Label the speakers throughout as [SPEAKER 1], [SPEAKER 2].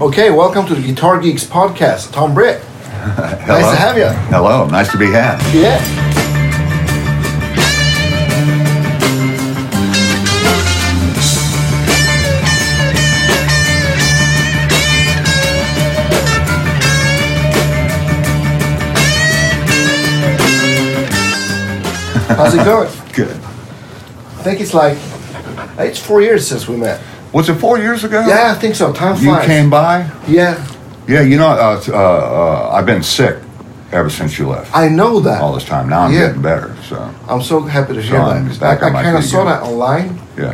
[SPEAKER 1] Okay, welcome to the Guitar Geeks podcast. Tom Britt.
[SPEAKER 2] Hello.
[SPEAKER 1] Nice to have you.
[SPEAKER 2] Hello, nice to be had.
[SPEAKER 1] Yeah. How's it going?
[SPEAKER 2] Good.
[SPEAKER 1] I think it's like it's four years since we met.
[SPEAKER 2] Was it four years ago?
[SPEAKER 1] Yeah, I think so. Time
[SPEAKER 2] You
[SPEAKER 1] flies.
[SPEAKER 2] came by?
[SPEAKER 1] Yeah,
[SPEAKER 2] Yeah, you know, uh, uh, uh, I've been sick ever since you left.
[SPEAKER 1] I know that.
[SPEAKER 2] all this time. Now I'm
[SPEAKER 1] Yeah.
[SPEAKER 2] getting better. So,
[SPEAKER 1] I'm so happy to hear
[SPEAKER 2] So
[SPEAKER 1] that.
[SPEAKER 2] I'm back
[SPEAKER 1] I,
[SPEAKER 2] on my
[SPEAKER 1] kind of
[SPEAKER 2] feet
[SPEAKER 1] saw
[SPEAKER 2] again.
[SPEAKER 1] that online,
[SPEAKER 2] yeah.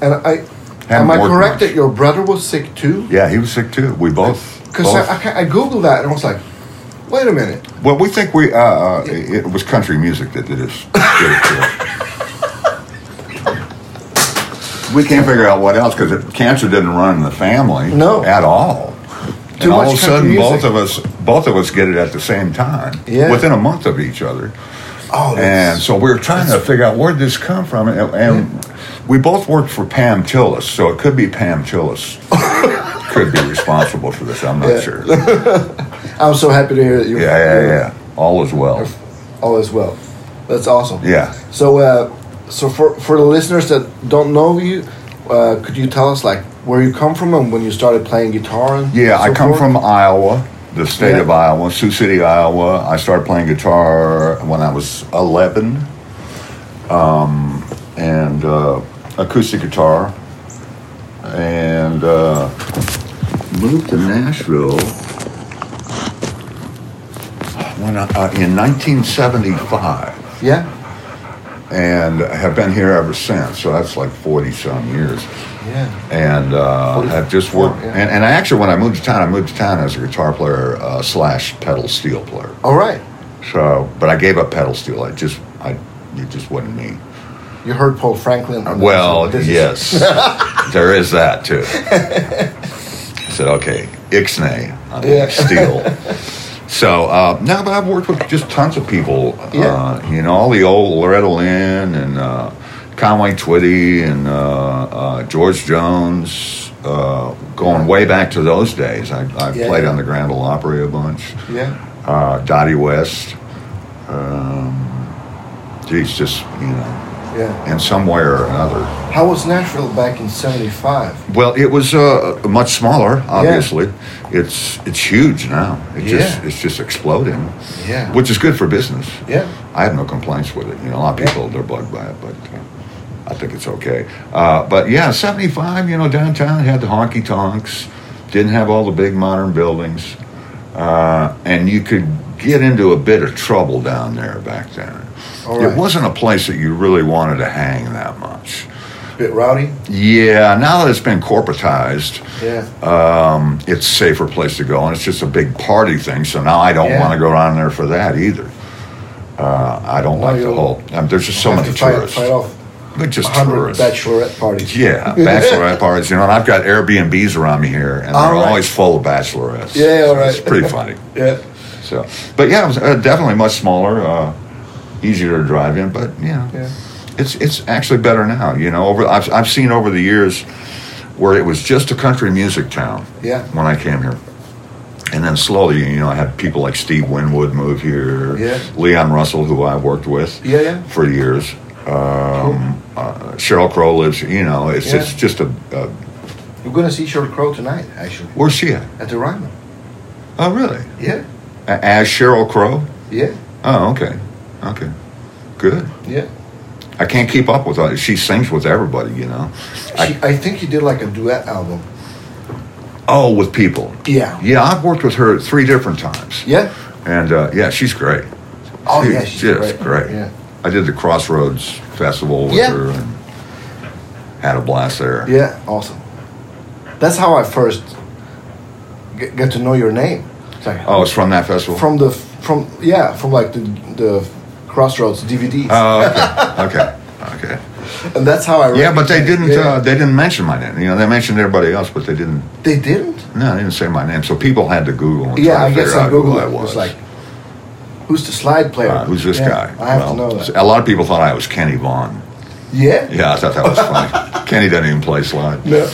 [SPEAKER 1] and I am
[SPEAKER 2] Haven't
[SPEAKER 1] I
[SPEAKER 2] worked
[SPEAKER 1] correct
[SPEAKER 2] much.
[SPEAKER 1] that your brother was sick too?
[SPEAKER 2] Yeah, he was sick too. We both.
[SPEAKER 1] Because
[SPEAKER 2] both-
[SPEAKER 1] I, I, ca- I googled that and I was like, wait a minute,
[SPEAKER 2] well, we think we. Uh, uh, it was country music that did us. did it to us. we can't figure out what else because cancer didn't run in the family.
[SPEAKER 1] No.
[SPEAKER 2] At all.
[SPEAKER 1] Too
[SPEAKER 2] and all
[SPEAKER 1] much
[SPEAKER 2] of a
[SPEAKER 1] country
[SPEAKER 2] sudden,
[SPEAKER 1] music.
[SPEAKER 2] both of us, both of us, get it at the same time,
[SPEAKER 1] Yeah.
[SPEAKER 2] within a month of each other.
[SPEAKER 1] oh,
[SPEAKER 2] And
[SPEAKER 1] that's-
[SPEAKER 2] so we were trying to figure out where did this come from, and, and we both worked for Pam Tillis, so it could be Pam Tillis could be responsible for this. I'm not
[SPEAKER 1] Yeah.
[SPEAKER 2] sure. Yeah,
[SPEAKER 1] I'm so happy to hear that you.
[SPEAKER 2] yeah, yeah. All is well.
[SPEAKER 1] All is well. That's awesome.
[SPEAKER 2] Yeah.
[SPEAKER 1] So, uh, so for for the listeners that don't know you, uh, could you tell us like where you come from and when you started playing guitar? And
[SPEAKER 2] Yeah, I
[SPEAKER 1] so
[SPEAKER 2] come
[SPEAKER 1] forth?
[SPEAKER 2] from Iowa, the state
[SPEAKER 1] Yeah.
[SPEAKER 2] of Iowa, Sioux City, Iowa. I started playing guitar when I was 11, um, and uh, acoustic guitar, and uh, moved to Nashville when I, uh, in 1975,
[SPEAKER 1] Yeah.
[SPEAKER 2] and have been here ever since. So that's like 40 some years
[SPEAKER 1] Yeah.
[SPEAKER 2] and uh, I've just worked.
[SPEAKER 1] Yeah.
[SPEAKER 2] And, and I actually, when I moved to town, I moved to town as a guitar player uh, slash pedal steel player.
[SPEAKER 1] All right.
[SPEAKER 2] So, but I gave up pedal steel. I just, I, it just wasn't me.
[SPEAKER 1] You heard Paul Franklin. on that,
[SPEAKER 2] Uh, Well,
[SPEAKER 1] so this is-
[SPEAKER 2] yes, there is that too. I said, okay, Ixnay on
[SPEAKER 1] Yeah.
[SPEAKER 2] steel. So uh, no, but I've worked with just tons of people.
[SPEAKER 1] Yeah.
[SPEAKER 2] Uh, you know, all the old Loretta Lynn and uh, Conway Twitty and uh, uh, George Jones. Uh, going way back to those days, I, I
[SPEAKER 1] Yeah,
[SPEAKER 2] played
[SPEAKER 1] yeah.
[SPEAKER 2] on the Grand Ole Opry a bunch.
[SPEAKER 1] Yeah.
[SPEAKER 2] Uh, Dottie West. Um, geez, just you know
[SPEAKER 1] Yeah.
[SPEAKER 2] in some way or another.
[SPEAKER 1] How was Nashville back in '75?
[SPEAKER 2] Well, it was uh, much smaller, obviously. It's it's huge now. It just
[SPEAKER 1] Yeah.
[SPEAKER 2] it's just exploding,
[SPEAKER 1] Yeah.
[SPEAKER 2] which is good for business.
[SPEAKER 1] Yeah.
[SPEAKER 2] I have no complaints with it. You know, a lot of people they're bugged by it, but uh, I think it's okay. Uh, but yeah, seventy five. You know, downtown had the honky tonks. Didn't have all the big modern buildings, uh, and you could get into a bit of trouble down there back then.
[SPEAKER 1] All
[SPEAKER 2] It
[SPEAKER 1] right.
[SPEAKER 2] wasn't a place that you really wanted to hang that much.
[SPEAKER 1] Bit rowdy.
[SPEAKER 2] Yeah, now that it's been corporatized,
[SPEAKER 1] Yeah.
[SPEAKER 2] um, it's a safer place to go, and it's just a big party thing. So now I don't
[SPEAKER 1] Yeah.
[SPEAKER 2] want to go down there for that either. Uh, I don't
[SPEAKER 1] No,
[SPEAKER 2] like the
[SPEAKER 1] you'll-
[SPEAKER 2] whole. Um, there's just so
[SPEAKER 1] Have
[SPEAKER 2] many
[SPEAKER 1] to fight,
[SPEAKER 2] tourists.
[SPEAKER 1] Fight off
[SPEAKER 2] They're just
[SPEAKER 1] 100
[SPEAKER 2] tourists.
[SPEAKER 1] bachelorette parties.
[SPEAKER 2] Yeah, bachelorette parties. You know, and I've got Airbnbs around me here, and they're
[SPEAKER 1] All right.
[SPEAKER 2] always full of bachelorettes.
[SPEAKER 1] Yeah, all
[SPEAKER 2] So It's
[SPEAKER 1] right.
[SPEAKER 2] pretty funny.
[SPEAKER 1] Yeah.
[SPEAKER 2] So, but yeah, it was, uh, definitely much smaller, uh, easier to drive in. But you know,
[SPEAKER 1] Yeah.
[SPEAKER 2] it's it's actually better now. You know, over I've I've seen over the years where it was just a country music town.
[SPEAKER 1] Yeah.
[SPEAKER 2] When I came here. And then slowly, you know, I had people like Steve Winwood move here.
[SPEAKER 1] Yeah.
[SPEAKER 2] Leon Russell, who I worked with
[SPEAKER 1] Yeah, yeah.
[SPEAKER 2] for years. Um, uh, Cheryl Crow lives. You know, it's
[SPEAKER 1] Yeah.
[SPEAKER 2] it's just a. Uh,
[SPEAKER 1] You're going to see Sheryl Crow tonight, actually,
[SPEAKER 2] where's she at?
[SPEAKER 1] at the Ryman.
[SPEAKER 2] Oh, really?
[SPEAKER 1] Yeah.
[SPEAKER 2] A- As Cheryl Crow?
[SPEAKER 1] Yeah.
[SPEAKER 2] Oh, okay, okay, good.
[SPEAKER 1] Yeah.
[SPEAKER 2] I can't keep up with her. She sings with everybody, you know.
[SPEAKER 1] She, I, think you did like a duet album.
[SPEAKER 2] Oh, with people.
[SPEAKER 1] Yeah.
[SPEAKER 2] Yeah, I've worked with her three different times.
[SPEAKER 1] Yeah.
[SPEAKER 2] And uh, yeah, she's great.
[SPEAKER 1] Oh,
[SPEAKER 2] She-
[SPEAKER 1] yeah. She's
[SPEAKER 2] just great.
[SPEAKER 1] Yeah.
[SPEAKER 2] I did the Crossroads Festival with
[SPEAKER 1] Yeah.
[SPEAKER 2] her and had a blast there.
[SPEAKER 1] Yeah. Awesome. That's how I first g- get to know your name. It's like,
[SPEAKER 2] Oh, it's from that festival?
[SPEAKER 1] From the, from, yeah, from like the, the Crossroads DVDs.
[SPEAKER 2] Oh, okay. okay. Okay.
[SPEAKER 1] and that's how I
[SPEAKER 2] Yeah, but they
[SPEAKER 1] recognized-
[SPEAKER 2] didn't.
[SPEAKER 1] yeah.
[SPEAKER 2] Uh, they didn't mention my name. You know, they mentioned everybody else, but they didn't.
[SPEAKER 1] they didn't?
[SPEAKER 2] No, they didn't say my name. So people had to Google. And
[SPEAKER 1] Yeah,
[SPEAKER 2] try to
[SPEAKER 1] I guess
[SPEAKER 2] figure
[SPEAKER 1] I
[SPEAKER 2] out who
[SPEAKER 1] Googled
[SPEAKER 2] I
[SPEAKER 1] it. It was like, who's the slide player?
[SPEAKER 2] Uh, who's this
[SPEAKER 1] Yeah,
[SPEAKER 2] guy?
[SPEAKER 1] I have
[SPEAKER 2] Well,
[SPEAKER 1] to know that.
[SPEAKER 2] A lot of people thought I was Kenny Vaughn.
[SPEAKER 1] Yeah?
[SPEAKER 2] Yeah, I thought that was funny. Kenny doesn't even play slide.
[SPEAKER 1] No.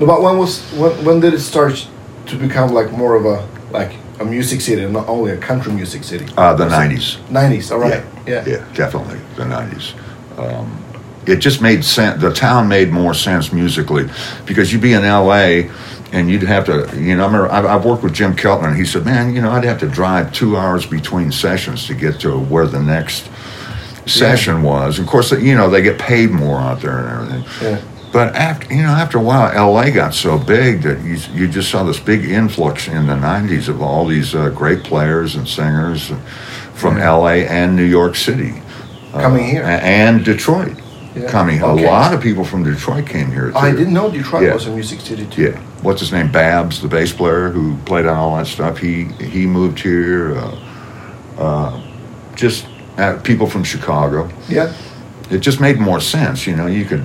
[SPEAKER 1] No, but when was when, when did it start to become like more of a like a music city, and not only a country music city?
[SPEAKER 2] Uh, the 90s.
[SPEAKER 1] Nineties, all right. Yeah.
[SPEAKER 2] Yeah, definitely the nineties. Um, it just made sense. The town made more sense musically because you'd be in L.A. and you'd have to. You know, I remember I, I worked with Jim Keltner, and he said, "Man, you know, I'd have to drive two hours between sessions to get to where the next session was." Of course, you know, they get paid more out there and everything.
[SPEAKER 1] Yeah.
[SPEAKER 2] But after you know, after a while, LA got so big that you you just saw this big influx in the '90s of all these uh, great players and singers from LA and New York City,
[SPEAKER 1] Coming here.
[SPEAKER 2] a- Uh, and Detroit.
[SPEAKER 1] Yeah.
[SPEAKER 2] Coming,
[SPEAKER 1] Okay.
[SPEAKER 2] a lot of people from Detroit came here. Too.
[SPEAKER 1] I didn't know Detroit
[SPEAKER 2] Yeah.
[SPEAKER 1] was a music city too.
[SPEAKER 2] Yeah, what's his name? Babs, the bass player who played on all that stuff. He he moved here. Uh, uh, just uh, people from Chicago
[SPEAKER 1] Yeah.
[SPEAKER 2] it just made more sense. You know, you could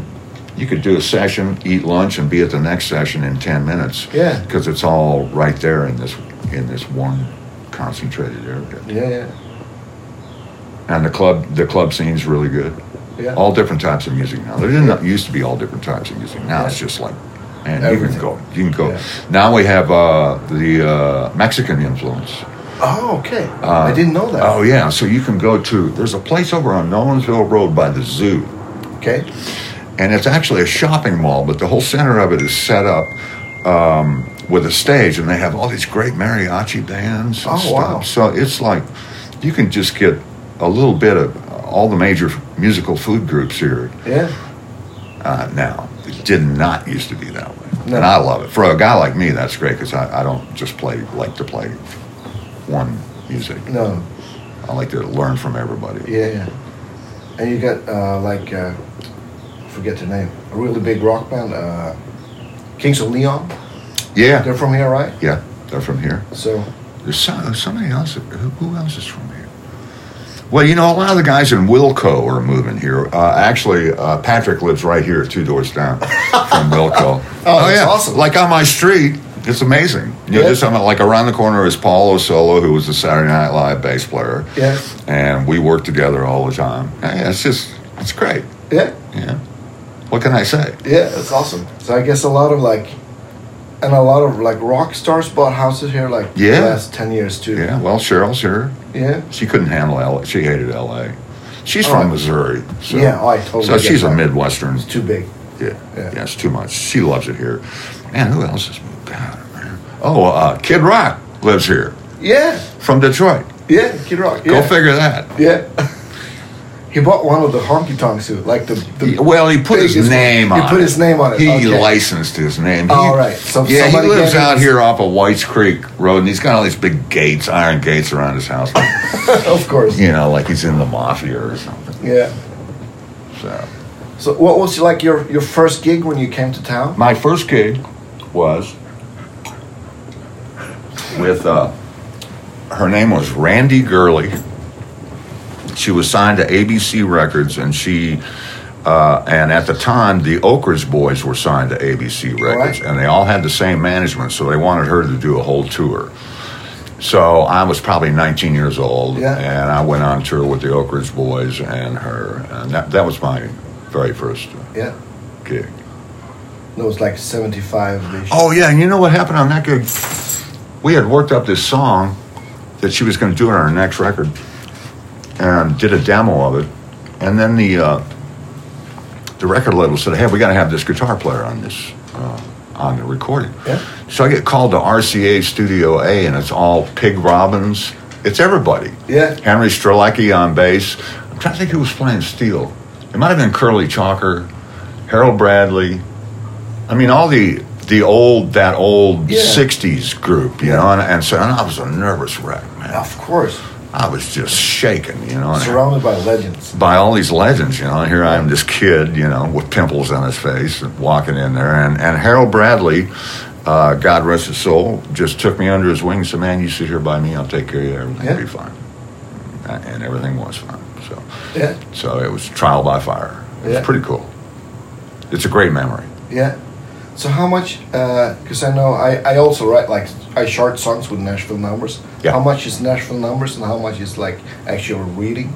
[SPEAKER 2] you could do a session, eat lunch, and be at the next session in ten minutes.
[SPEAKER 1] Yeah.
[SPEAKER 2] because it's all right there in this in this one concentrated area.
[SPEAKER 1] Yeah. Yeah.
[SPEAKER 2] And the club the club scene's really good.
[SPEAKER 1] Yeah.
[SPEAKER 2] All different types of music now. There didn't used to be all different types of music. Now it's
[SPEAKER 1] Yeah.
[SPEAKER 2] just like. man, you
[SPEAKER 1] Everything.
[SPEAKER 2] can go. You can go.
[SPEAKER 1] Yeah.
[SPEAKER 2] Now we have uh, the uh, Mexican influence.
[SPEAKER 1] Oh, okay. I
[SPEAKER 2] Uh,
[SPEAKER 1] didn't know that.
[SPEAKER 2] Oh yeah, so you can go to. There's a place over on Nolansville Road by the zoo.
[SPEAKER 1] Okay.
[SPEAKER 2] and it's actually a shopping mall, but the whole center of it is set up um, with a stage, and they have all these great mariachi bands and
[SPEAKER 1] Oh,
[SPEAKER 2] stuff.
[SPEAKER 1] wow.
[SPEAKER 2] So it's like you can just get a little bit of all the major musical food groups here
[SPEAKER 1] Yeah.
[SPEAKER 2] uh, now. It did not used to be that way,
[SPEAKER 1] No.
[SPEAKER 2] and I love it. For a guy like me, that's great because I, I don't just play like to play one music.
[SPEAKER 1] No.
[SPEAKER 2] I like to learn from everybody.
[SPEAKER 1] Yeah. yeah. And you got uh, like uh, forget the name. A really big rock band, uh, Kings of Leon.
[SPEAKER 2] yeah,
[SPEAKER 1] They're from here, right?
[SPEAKER 2] yeah. They're from here.
[SPEAKER 1] So
[SPEAKER 2] There's some, there's somebody else. Who, who else is from here? Well, you know, a lot of the guys in Wilco are moving here. Uh, actually, uh, Patrick lives right here, two doors down from Wilco. oh,
[SPEAKER 1] that's awesome.
[SPEAKER 2] Like on my street, it's amazing. You
[SPEAKER 1] Yeah.
[SPEAKER 2] know, just I'm, like around the corner is Paulo Solo, who was a Saturday Night Live bass player,
[SPEAKER 1] yeah,
[SPEAKER 2] and we work together all the time. Yeah, it's just, it's great.
[SPEAKER 1] yeah,
[SPEAKER 2] Yeah. What can I say?
[SPEAKER 1] yeah. That's awesome. So I guess a lot of like, and a lot of like rock stars bought houses here like
[SPEAKER 2] Yeah.
[SPEAKER 1] the last ten years too.
[SPEAKER 2] Yeah. Well, Cheryl's here.
[SPEAKER 1] Yeah.
[SPEAKER 2] She couldn't handle L. She hated L.A. She's
[SPEAKER 1] Oh.
[SPEAKER 2] from Missouri. So.
[SPEAKER 1] yeah. oh, I totally.
[SPEAKER 2] So
[SPEAKER 1] get
[SPEAKER 2] she's a
[SPEAKER 1] that.
[SPEAKER 2] Midwestern.
[SPEAKER 1] It's too big.
[SPEAKER 2] Yeah.
[SPEAKER 1] Yeah.
[SPEAKER 2] yeah, it's too much. She loves it here. Man, who else has moved out? Man? Oh, uh, Kid Rock lives here
[SPEAKER 1] Yeah.
[SPEAKER 2] from Detroit.
[SPEAKER 1] Yeah. Kid Rock.
[SPEAKER 2] Go
[SPEAKER 1] Yeah.
[SPEAKER 2] figure that.
[SPEAKER 1] Yeah. He bought one of the honky tonk suit, like the, the
[SPEAKER 2] He- well, he put his
[SPEAKER 1] biggest-
[SPEAKER 2] name on
[SPEAKER 1] He put
[SPEAKER 2] it.
[SPEAKER 1] his name on it.
[SPEAKER 2] He
[SPEAKER 1] okay.
[SPEAKER 2] licensed his name. He,
[SPEAKER 1] All right, so if
[SPEAKER 2] yeah, he
[SPEAKER 1] somebody
[SPEAKER 2] lives
[SPEAKER 1] gave him-
[SPEAKER 2] out here off of Whites Creek Road, and he's got all these big gates, iron gates around his house.
[SPEAKER 1] of course.
[SPEAKER 2] you know, like he's in the mafia or something.
[SPEAKER 1] Yeah.
[SPEAKER 2] So.
[SPEAKER 1] So what was like your your first gig when you came to town?
[SPEAKER 2] My first gig was with uh, her name was Randy Gurley. She was signed to ABC Records, and she uh, and at the time the Oakridge Boys were signed to ABC Records,
[SPEAKER 1] Right.
[SPEAKER 2] and they all had the same management, so they wanted her to do a whole tour. So I was probably 19 years old,
[SPEAKER 1] Yeah.
[SPEAKER 2] and I went on tour with the Oakridge Boys and her, and that, that was my very first
[SPEAKER 1] Yeah.
[SPEAKER 2] gig.
[SPEAKER 1] That was like seventy five.
[SPEAKER 2] Oh yeah, and you know what happened on that gig? We had worked up this song that she was going to do on our next record, and did a demo of it, and then the uh, the record label said, "Hey, we got to have this guitar player on this uh, on the recording."
[SPEAKER 1] Yeah.
[SPEAKER 2] So I get called to RCA Studio A, and it's all Pig Robbins. It's everybody.
[SPEAKER 1] Yeah.
[SPEAKER 2] Henry Strelecki on bass. I'm trying to think who was playing steel. It might have been Curly Chalker, Harold Bradley. I mean, all the the old that old
[SPEAKER 1] Yeah.
[SPEAKER 2] '60s group, you
[SPEAKER 1] Yeah.
[SPEAKER 2] know. And, and so and I was a nervous wreck, man.
[SPEAKER 1] Of course.
[SPEAKER 2] I was just shaking, you know. and-
[SPEAKER 1] Surrounded by legends.
[SPEAKER 2] by all these legends, you know. And here I am, this kid, you know, with pimples on his face, and walking in there. And, and Harold Bradley, uh, God rest his soul, just took me under his wing. and said, "Man, you sit here by me. I'll take care of you. Everything
[SPEAKER 1] Yeah.
[SPEAKER 2] will be fine." And everything was fine. So,
[SPEAKER 1] Yeah.
[SPEAKER 2] so it was trial by fire. It
[SPEAKER 1] Yeah.
[SPEAKER 2] was pretty cool. It's a great memory.
[SPEAKER 1] Yeah. So how much? Because I know I, I also write like I chart songs with Nashville numbers.
[SPEAKER 2] Yeah.
[SPEAKER 1] How much is Nashville numbers and how much is like actual reading?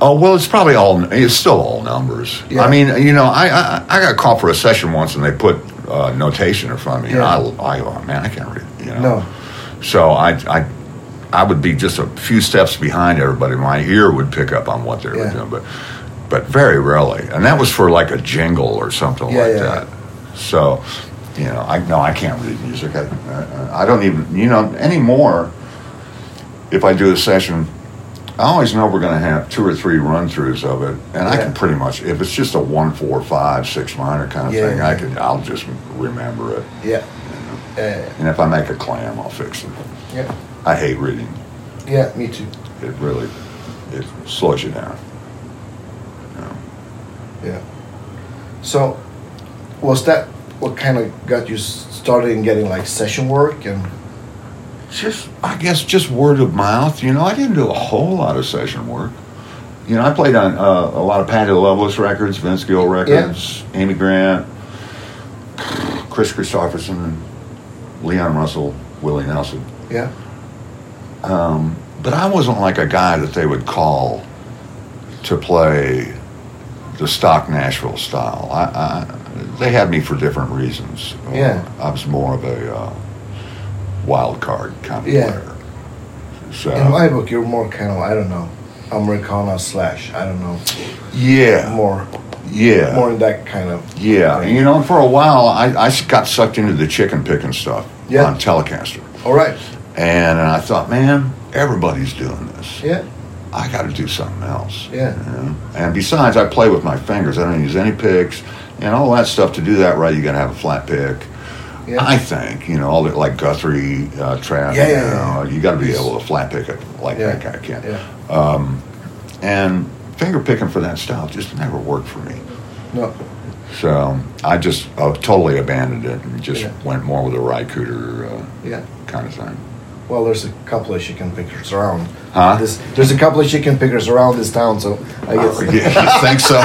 [SPEAKER 2] Oh well, it's probably all. It's still all numbers.
[SPEAKER 1] Yeah.
[SPEAKER 2] I mean, you know, I, I I got called for a session once, and they put uh, notation in front of me.
[SPEAKER 1] Yeah.
[SPEAKER 2] And I, I, oh, man, I can't read. You know?
[SPEAKER 1] No.
[SPEAKER 2] So I, I, I would be just a few steps behind everybody. My ear would pick up on what they were
[SPEAKER 1] Yeah.
[SPEAKER 2] doing, but, but very rarely. And that was for like a jingle or something
[SPEAKER 1] Yeah,
[SPEAKER 2] like
[SPEAKER 1] yeah.
[SPEAKER 2] that. So, you know, I no, I can't read music. I, I, I don't even, you know, anymore. If I do a session, I always know we're going to have two or three run throughs of it, and I
[SPEAKER 1] Yeah.
[SPEAKER 2] can pretty much, if it's just a one, four, five, six minor kind of
[SPEAKER 1] Yeah.
[SPEAKER 2] thing, I can, I'll just remember it.
[SPEAKER 1] Yeah. Uh,
[SPEAKER 2] And if I make a clam, I'll fix it.
[SPEAKER 1] yeah.
[SPEAKER 2] I hate reading.
[SPEAKER 1] Yeah. Me too.
[SPEAKER 2] It really, it slows you down.
[SPEAKER 1] Yeah. So, was that what kind of got you s- started in getting like session work and
[SPEAKER 2] Just, I guess, just word of mouth. You know, I didn't do a whole lot of session work. You know, I played on uh, a lot of Patti Loveless records, Vince Gill records, Amy Grant, Chris Christopherson, Leon Russell, Willie Nelson.
[SPEAKER 1] yeah?
[SPEAKER 2] Um, but I wasn't like a guy that they would call to play the stock Nashville style. I, I they had me for different reasons. Uh,
[SPEAKER 1] Yeah.
[SPEAKER 2] I was more of a uh, wild card kind of
[SPEAKER 1] Yeah.
[SPEAKER 2] player. So
[SPEAKER 1] In my book, you're more kind of I don't know, Americana slash I don't know,
[SPEAKER 2] yeah,
[SPEAKER 1] more
[SPEAKER 2] yeah,
[SPEAKER 1] more in that kind of
[SPEAKER 2] yeah.
[SPEAKER 1] thing.
[SPEAKER 2] You know, for a while, I, I s- got sucked into the chicken picking stuff
[SPEAKER 1] Yeah.
[SPEAKER 2] on Telecaster,
[SPEAKER 1] All right.
[SPEAKER 2] and, I thought, man, everybody's doing this.
[SPEAKER 1] Yeah.
[SPEAKER 2] I got to do something else.
[SPEAKER 1] Yeah.
[SPEAKER 2] you know? And besides, I play with my fingers. I don't use any picks and all that stuff. To do that right, you got to have a flat pick.
[SPEAKER 1] Yeah.
[SPEAKER 2] I think you know, all the, like Guthrie, uh, Trapp.
[SPEAKER 1] Yeah, yeah,
[SPEAKER 2] you,
[SPEAKER 1] yeah,
[SPEAKER 2] know, you got to be able to flat pick it like
[SPEAKER 1] Yeah.
[SPEAKER 2] that guy can. Um,
[SPEAKER 1] yeah.
[SPEAKER 2] And finger picking for that style just never worked for me.
[SPEAKER 1] No.
[SPEAKER 2] So I just uh, totally abandoned it and just
[SPEAKER 1] Yeah.
[SPEAKER 2] went more with a Rycooter uh,
[SPEAKER 1] Yeah.
[SPEAKER 2] kind of thing.
[SPEAKER 1] Well, there's a couple of chicken pickers around.
[SPEAKER 2] Huh?
[SPEAKER 1] This, there's a couple of chicken pickers around this town, so I guess.
[SPEAKER 2] Oh, yeah, you think so?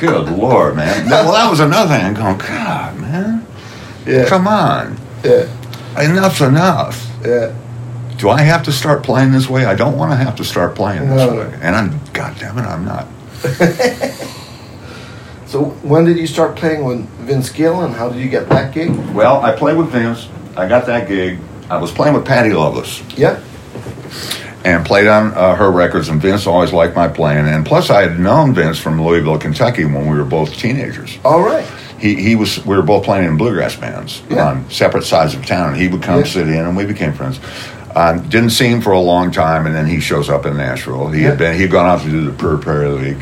[SPEAKER 2] Good lord, man. That- well, that was another thing. I'm going, God, man.
[SPEAKER 1] Yeah.
[SPEAKER 2] Come on.
[SPEAKER 1] Yeah.
[SPEAKER 2] Enough's enough.
[SPEAKER 1] Yeah.
[SPEAKER 2] Do I have to start playing this way? I don't want to have to start playing this
[SPEAKER 1] No.
[SPEAKER 2] way. And I'm, God damn it, I'm not.
[SPEAKER 1] So when did you start playing with Vince Gill, and how did you get that gig?
[SPEAKER 2] Well, I played with Vince. I got that gig. I was playing with Patty Loveless
[SPEAKER 1] Yeah.
[SPEAKER 2] and played on uh, her records, and Vince always liked my playing. And plus, I had known Vince from Louisville, Kentucky when we were both teenagers.
[SPEAKER 1] All right.
[SPEAKER 2] he, he was we were both playing in bluegrass bands
[SPEAKER 1] Yeah.
[SPEAKER 2] on separate sides of town. He would come
[SPEAKER 1] Yeah.
[SPEAKER 2] sit in, and we became friends. Um, didn't see him for a long time, and then he shows up in Nashville. He
[SPEAKER 1] Yeah.
[SPEAKER 2] had been he'd gone out to do the Pure Prairie League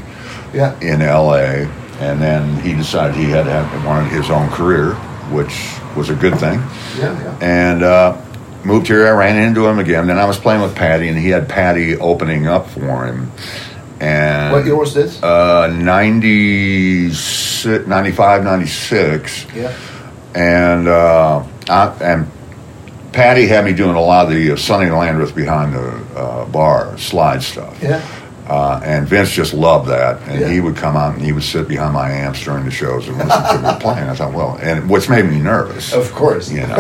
[SPEAKER 1] Yeah.
[SPEAKER 2] in L.A., and then he decided he had to have, wanted his own career, which was a good thing
[SPEAKER 1] Yeah. Yeah.
[SPEAKER 2] and uh, moved here. I ran into him again. Then I was playing with Patty, and he had Patty opening up for him. And
[SPEAKER 1] What year was this?
[SPEAKER 2] Uh, 96, 95, 96.
[SPEAKER 1] Yeah.
[SPEAKER 2] And, uh, I, and Patty had me doing a lot of the uh, Sonny Landreth behind the uh, bar slide stuff.
[SPEAKER 1] Yeah.
[SPEAKER 2] Uh, and Vince just loved that, and
[SPEAKER 1] Yeah.
[SPEAKER 2] he would come out and he would sit behind my amps during the shows and listen to me playing. I thought, well, and which made me nervous.
[SPEAKER 1] Of course.
[SPEAKER 2] You know,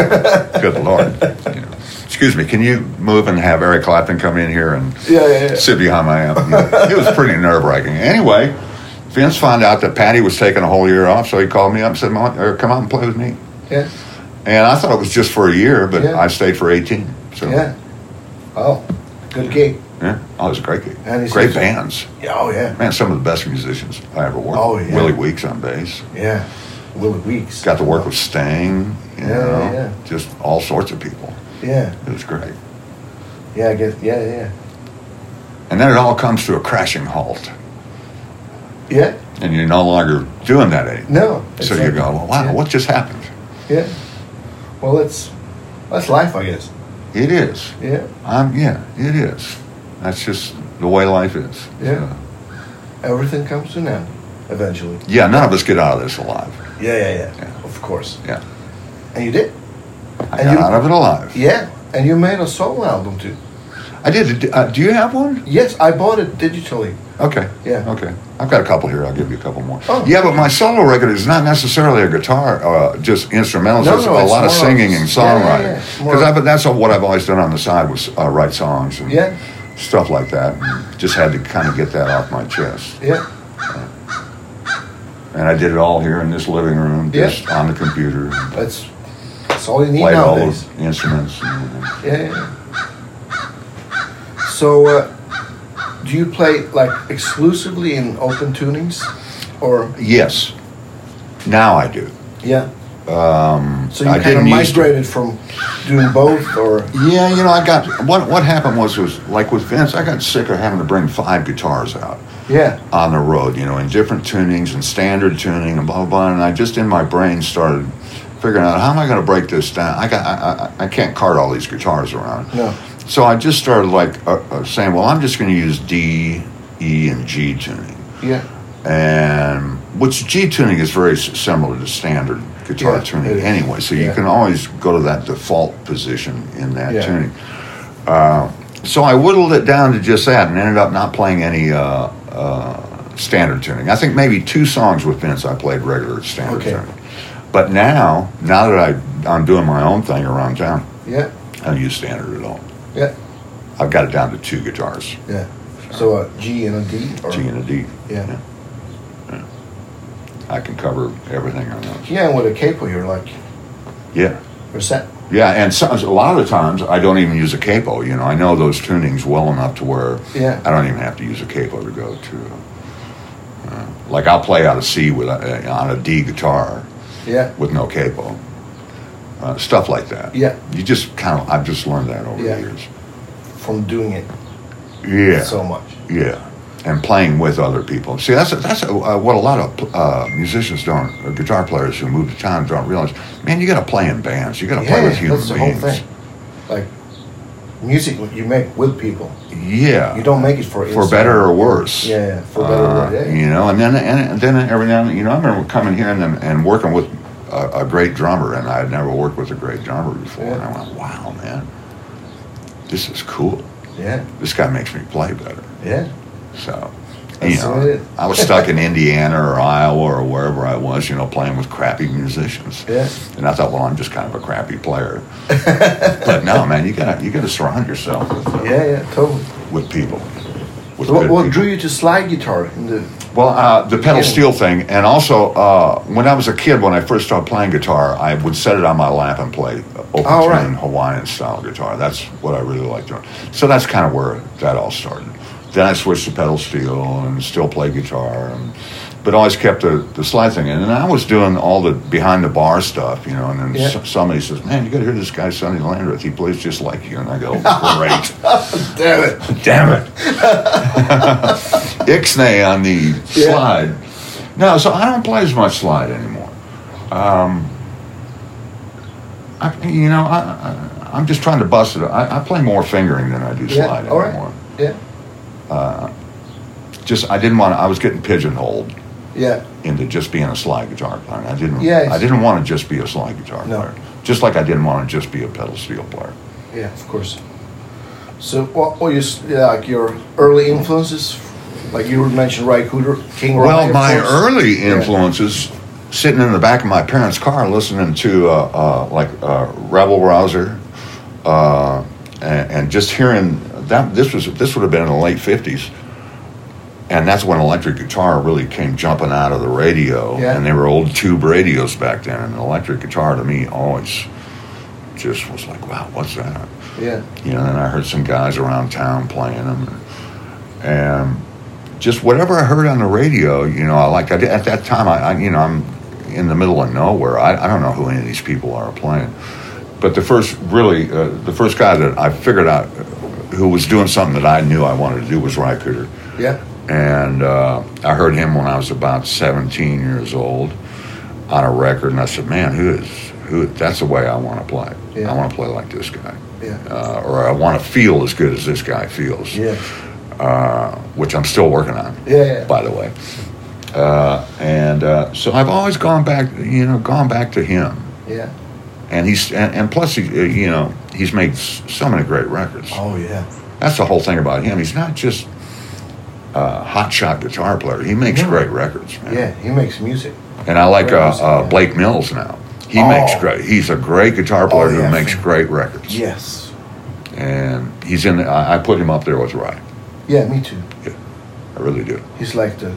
[SPEAKER 2] good lord. You know. Excuse me, can you move and have Eric Clapton come in here and
[SPEAKER 1] Yeah. Yeah. yeah.
[SPEAKER 2] sit behind my amp? You know, it was pretty nerve wracking. Anyway, Vince found out that Patty was taking a whole year off, so he called me up and said, "Mon- Eric, come out and play with me.
[SPEAKER 1] Yeah.
[SPEAKER 2] And I thought it was just for a year, but
[SPEAKER 1] Yeah.
[SPEAKER 2] I stayed for 18. So,
[SPEAKER 1] Yeah. Oh, good gig.
[SPEAKER 2] yeah. Oh, it was a great gig.
[SPEAKER 1] And he
[SPEAKER 2] Great
[SPEAKER 1] says-
[SPEAKER 2] bands.
[SPEAKER 1] Yeah, Oh yeah.
[SPEAKER 2] Man, some of the best musicians I ever worked
[SPEAKER 1] Oh,
[SPEAKER 2] with.
[SPEAKER 1] yeah.
[SPEAKER 2] Willie Weeks on bass.
[SPEAKER 1] Yeah. Willie Weeks.
[SPEAKER 2] Got to work with Sting, you
[SPEAKER 1] Yeah,
[SPEAKER 2] know,
[SPEAKER 1] yeah, yeah.
[SPEAKER 2] just all sorts of people.
[SPEAKER 1] Yeah.
[SPEAKER 2] It was great.
[SPEAKER 1] Yeah. I guess. Yeah. Yeah.
[SPEAKER 2] And then it all comes to a crashing halt.
[SPEAKER 1] Yeah.
[SPEAKER 2] and you're no longer doing that anymore.
[SPEAKER 1] No.
[SPEAKER 2] So you go, well, wow,
[SPEAKER 1] Yeah.
[SPEAKER 2] what just happened?
[SPEAKER 1] Yeah. Well, it's that's life, I guess.
[SPEAKER 2] It is.
[SPEAKER 1] Yeah.
[SPEAKER 2] I'm, yeah, it is. That's just the way life is.
[SPEAKER 1] Yeah.
[SPEAKER 2] So-
[SPEAKER 1] Everything comes to an end eventually.
[SPEAKER 2] yeah, none of us get out of this alive.
[SPEAKER 1] Yeah. Yeah. Yeah.
[SPEAKER 2] Yeah.
[SPEAKER 1] Of course.
[SPEAKER 2] Yeah.
[SPEAKER 1] And you did.
[SPEAKER 2] I
[SPEAKER 1] And you-
[SPEAKER 2] got out of it alive.
[SPEAKER 1] Yeah. And you made a solo album too.
[SPEAKER 2] I did. Uh, do you have one?
[SPEAKER 1] Yes, I bought it digitally.
[SPEAKER 2] Okay.
[SPEAKER 1] Yeah.
[SPEAKER 2] Okay. I've got a couple here. I'll give you a couple more.
[SPEAKER 1] Oh.
[SPEAKER 2] Yeah, but my solo record is not necessarily a guitar, uh, just instrumentals.
[SPEAKER 1] No,
[SPEAKER 2] There's
[SPEAKER 1] no,
[SPEAKER 2] a
[SPEAKER 1] it's
[SPEAKER 2] lot of
[SPEAKER 1] more
[SPEAKER 2] singing
[SPEAKER 1] of-
[SPEAKER 2] and
[SPEAKER 1] yeah, yeah, yeah.
[SPEAKER 2] songwriting.
[SPEAKER 1] More
[SPEAKER 2] Because
[SPEAKER 1] of-
[SPEAKER 2] that's what I've always done on the side was uh, write songs and
[SPEAKER 1] Yeah.
[SPEAKER 2] stuff like that. And just had to kind of get that off my chest.
[SPEAKER 1] Yeah.
[SPEAKER 2] and I did it all here in this living room,
[SPEAKER 1] Yeah.
[SPEAKER 2] just on the computer,
[SPEAKER 1] That's that's all you need
[SPEAKER 2] played all
[SPEAKER 1] nowadays.
[SPEAKER 2] the instruments. And everything.
[SPEAKER 1] Yeah, yeah. So, uh, do you play like exclusively in open tunings, or
[SPEAKER 2] Yes, now I do.
[SPEAKER 1] yeah?
[SPEAKER 2] Um,
[SPEAKER 1] So you
[SPEAKER 2] I
[SPEAKER 1] kind of
[SPEAKER 2] didn't used to.
[SPEAKER 1] migrated from doing both, or
[SPEAKER 2] Yeah, you know, I got what what happened was was like with Vince, I got sick of having to bring five guitars out
[SPEAKER 1] yeah,
[SPEAKER 2] on the road, you know, in different tunings and standard tuning and blah blah blah. And I just in my brain started figuring out how am I going to break this down. I got I, I, I can't cart all these guitars around.
[SPEAKER 1] no,
[SPEAKER 2] So I just started like uh, uh, saying, well, I'm just going to use D, E, and G tuning,
[SPEAKER 1] yeah,
[SPEAKER 2] and which G tuning is very s- similar to standard guitar
[SPEAKER 1] Yeah, it
[SPEAKER 2] tuning
[SPEAKER 1] is.
[SPEAKER 2] anyway. So
[SPEAKER 1] Yeah.
[SPEAKER 2] you can always go to that default position in that
[SPEAKER 1] Yeah.
[SPEAKER 2] tuning. Uh, so I whittled it down to just that, and ended up not playing any uh, uh, standard tuning. I think maybe two songs with Vince I played regular standard
[SPEAKER 1] Okay.
[SPEAKER 2] tuning. But now, now that I, I'm doing my own thing around town,
[SPEAKER 1] yeah,
[SPEAKER 2] I don't use standard at all.
[SPEAKER 1] yeah,
[SPEAKER 2] I've got it down to two guitars,
[SPEAKER 1] yeah. So a G and a D, or
[SPEAKER 2] G and a D.
[SPEAKER 1] yeah,
[SPEAKER 2] yeah. Yeah. I can cover everything on those.
[SPEAKER 1] yeah, and with a capo, you're like
[SPEAKER 2] Yeah,
[SPEAKER 1] you're set.
[SPEAKER 2] yeah, and so, a lot of times I don't even use a capo. You know, I know those tunings well enough to where
[SPEAKER 1] Yeah.
[SPEAKER 2] I don't even have to use a capo to go to. Uh, like I'll play out a C with a, uh, on a D guitar
[SPEAKER 1] Yeah,
[SPEAKER 2] with no capo, uh, stuff like that.
[SPEAKER 1] Yeah.
[SPEAKER 2] you just kind of I've just learned that over
[SPEAKER 1] Yeah.
[SPEAKER 2] the years.
[SPEAKER 1] from doing it
[SPEAKER 2] Yeah,
[SPEAKER 1] so much.
[SPEAKER 2] Yeah, and playing with other people. See, that's that's uh, what a lot of uh, musicians don't, or guitar players who move to town don't realize. Man, you got to play in bands. You got to play with
[SPEAKER 1] Yeah,
[SPEAKER 2] human
[SPEAKER 1] that's the whole
[SPEAKER 2] beings.
[SPEAKER 1] thing. Like music, what you make with people.
[SPEAKER 2] Yeah,
[SPEAKER 1] You don't make it for
[SPEAKER 2] for
[SPEAKER 1] inside.
[SPEAKER 2] better or worse.
[SPEAKER 1] Yeah, yeah, for better or
[SPEAKER 2] Uh,
[SPEAKER 1] worse. Yeah, yeah.
[SPEAKER 2] You know, and then and then every now and then, you know, I remember coming here and then, and working with a, a great drummer, and I had never worked with a great drummer before, and I
[SPEAKER 1] Yeah.
[SPEAKER 2] went, "Wow, man, this is cool.
[SPEAKER 1] yeah.
[SPEAKER 2] This guy makes me play better."
[SPEAKER 1] Yeah,
[SPEAKER 2] So,
[SPEAKER 1] That's
[SPEAKER 2] you
[SPEAKER 1] what it
[SPEAKER 2] know,
[SPEAKER 1] is.
[SPEAKER 2] I was stuck in Indiana or Iowa or wherever I was, you know, playing with crappy musicians.
[SPEAKER 1] yeah,
[SPEAKER 2] And I thought, well, I'm just kind of a crappy player. but no, man, you gotta you gotta surround yourself with, uh,
[SPEAKER 1] yeah, yeah, totally.
[SPEAKER 2] with people. With
[SPEAKER 1] So what,
[SPEAKER 2] good
[SPEAKER 1] what
[SPEAKER 2] people.
[SPEAKER 1] drew you to slide guitar in the?
[SPEAKER 2] Well, uh, the pedal steel thing, and also uh, when I was a kid, when I first started playing guitar, I would set it on my lap and play open
[SPEAKER 1] Oh, right.
[SPEAKER 2] tune Hawaiian style guitar. That's what I really liked doing. So that's kind of where that all started. Then I switched to pedal steel and still play guitar, and, but always kept the, the slide thing. in. And I was doing all the behind the bar stuff, you know. And then
[SPEAKER 1] Yeah.
[SPEAKER 2] s- somebody says, "Man, you got to hear this guy Sonny Landreth. He plays just like you." And I go, "Great."
[SPEAKER 1] Damn it!
[SPEAKER 2] Damn it. Ixnay on the
[SPEAKER 1] Yeah.
[SPEAKER 2] slide. No, so I don't play as much slide anymore. Um, I, you know, I, I, I'm just trying to bust it. I, I play more fingering than I do
[SPEAKER 1] Yeah,
[SPEAKER 2] slide
[SPEAKER 1] all right.
[SPEAKER 2] anymore.
[SPEAKER 1] Yeah,
[SPEAKER 2] Uh, just I didn't want. to I was getting pigeonholed
[SPEAKER 1] yeah,
[SPEAKER 2] into just being a slide guitar player. I didn't.
[SPEAKER 1] Yeah, it's-
[SPEAKER 2] I didn't want to just be a slide guitar
[SPEAKER 1] No.
[SPEAKER 2] player. Just like I didn't want to just be a pedal steel player.
[SPEAKER 1] yeah. Of course. So what? What you s- yeah, like your early influences? Like you mentioned, Ray Cooter, King. Ronnie,
[SPEAKER 2] Well,
[SPEAKER 1] of
[SPEAKER 2] my
[SPEAKER 1] course.
[SPEAKER 2] early
[SPEAKER 1] Yeah.
[SPEAKER 2] influences sitting in the back of my parents' car listening to uh, uh, like uh, Rebel Rouser, uh, and, and just hearing that this was this would have been in the late fifties, and that's when electric guitar really came jumping out of the radio,
[SPEAKER 1] Yeah.
[SPEAKER 2] and they were old tube radios back then, and electric guitar to me always just was like, wow, what's that?
[SPEAKER 1] Yeah,
[SPEAKER 2] you know, and I heard some guys around town playing them, and just whatever I heard on the radio, you know, I like I did, at that time, I, I you know, I'm in the middle of nowhere. I, I don't know who any of these people are playing, but the first really, uh, the first guy that I figured out who was doing something that I knew I wanted to do was Rycooter,
[SPEAKER 1] yeah,
[SPEAKER 2] and uh, I heard him when I was about 17 years old on a record, and I said, man, who is who? That's the way I want to play.
[SPEAKER 1] Yeah.
[SPEAKER 2] I want to play like this guy
[SPEAKER 1] yeah,
[SPEAKER 2] uh, or I want to feel as good as this guy feels,
[SPEAKER 1] yeah,
[SPEAKER 2] uh, which I'm still working on,
[SPEAKER 1] yeah, yeah.
[SPEAKER 2] by the way. Uh, and uh, so I've always gone back, you know, gone back to him,
[SPEAKER 1] yeah.
[SPEAKER 2] and he's and, and plus he, uh, you know, he's made s- so many great records.
[SPEAKER 1] Oh yeah,
[SPEAKER 2] That's the whole thing about him. He's not just a hot shot guitar player. He makes
[SPEAKER 1] No.
[SPEAKER 2] great records, man.
[SPEAKER 1] yeah. He makes music.
[SPEAKER 2] And I like
[SPEAKER 1] Great
[SPEAKER 2] uh,
[SPEAKER 1] music,
[SPEAKER 2] uh,
[SPEAKER 1] yeah.
[SPEAKER 2] Blake Mills now. He
[SPEAKER 1] Oh.
[SPEAKER 2] makes great. He's a great guitar player
[SPEAKER 1] yeah.
[SPEAKER 2] who makes great records.
[SPEAKER 1] Yes.
[SPEAKER 2] And he's in. The, I, I put him up there with Rye.
[SPEAKER 1] Yeah, me too.
[SPEAKER 2] I really do.
[SPEAKER 1] He's like the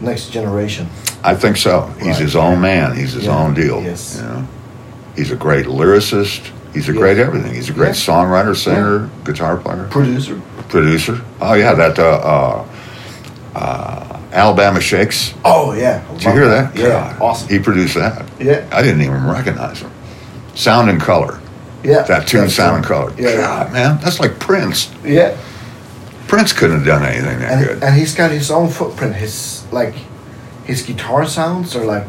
[SPEAKER 1] next generation.
[SPEAKER 2] I think so. He's
[SPEAKER 1] Right.
[SPEAKER 2] his own man. He's his
[SPEAKER 3] Yeah.
[SPEAKER 2] own deal.
[SPEAKER 3] Yes.
[SPEAKER 2] You know? He's a great lyricist. He's a
[SPEAKER 1] Yeah.
[SPEAKER 2] great everything. He's a great
[SPEAKER 3] Yeah.
[SPEAKER 2] songwriter, singer, guitar player,
[SPEAKER 1] Producer.
[SPEAKER 2] producer. Oh yeah, that uh, uh, uh, Alabama Shakes.
[SPEAKER 3] Oh yeah.
[SPEAKER 2] Did you hear that?
[SPEAKER 3] Yeah.
[SPEAKER 2] God,
[SPEAKER 3] Awesome.
[SPEAKER 2] He produced that.
[SPEAKER 3] yeah.
[SPEAKER 2] I didn't even recognize him. Sound and color.
[SPEAKER 3] Yeah.
[SPEAKER 2] That tune,
[SPEAKER 3] That's
[SPEAKER 2] sound and
[SPEAKER 3] right.
[SPEAKER 2] color.
[SPEAKER 3] Yeah.
[SPEAKER 2] God, man, that's like Prince.
[SPEAKER 3] Yeah.
[SPEAKER 2] Prince couldn't have done anything that
[SPEAKER 1] And,
[SPEAKER 2] good.
[SPEAKER 1] and he's got his own footprint. His like, his guitar sounds are like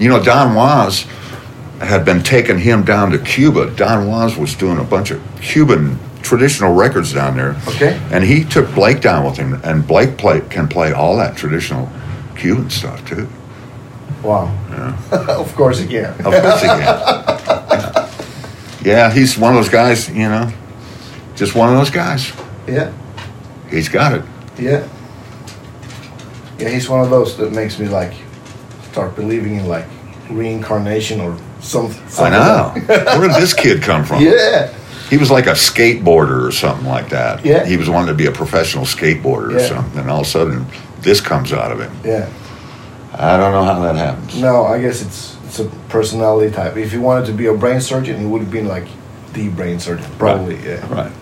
[SPEAKER 2] You know, Don Was had been taking him down to Cuba. Don Was was doing a bunch of Cuban traditional records down there.
[SPEAKER 1] okay.
[SPEAKER 2] And he took Blake down with him, and Blake play, can play all that traditional Cuban stuff too.
[SPEAKER 1] Wow. of course, yeah.
[SPEAKER 2] Of course he can. yeah, he's one of those guys, you know, just one of those guys.
[SPEAKER 1] Yeah.
[SPEAKER 2] He's got it.
[SPEAKER 1] Yeah. Yeah, he's one of those that makes me like start believing in like reincarnation or some, something.
[SPEAKER 2] I know. Where did this kid come from?
[SPEAKER 1] Yeah.
[SPEAKER 2] He was like a skateboarder or something like that.
[SPEAKER 1] Yeah.
[SPEAKER 2] He was wanting to be a professional skateboarder or
[SPEAKER 1] Yeah.
[SPEAKER 2] something, and all of a sudden, this comes out of him.
[SPEAKER 1] Yeah.
[SPEAKER 2] I don't know how that happens.
[SPEAKER 1] No, I guess it's it's a personality type. If he wanted to be a brain surgeon, he would have been like the brain surgeon, probably. Yeah.
[SPEAKER 2] Right.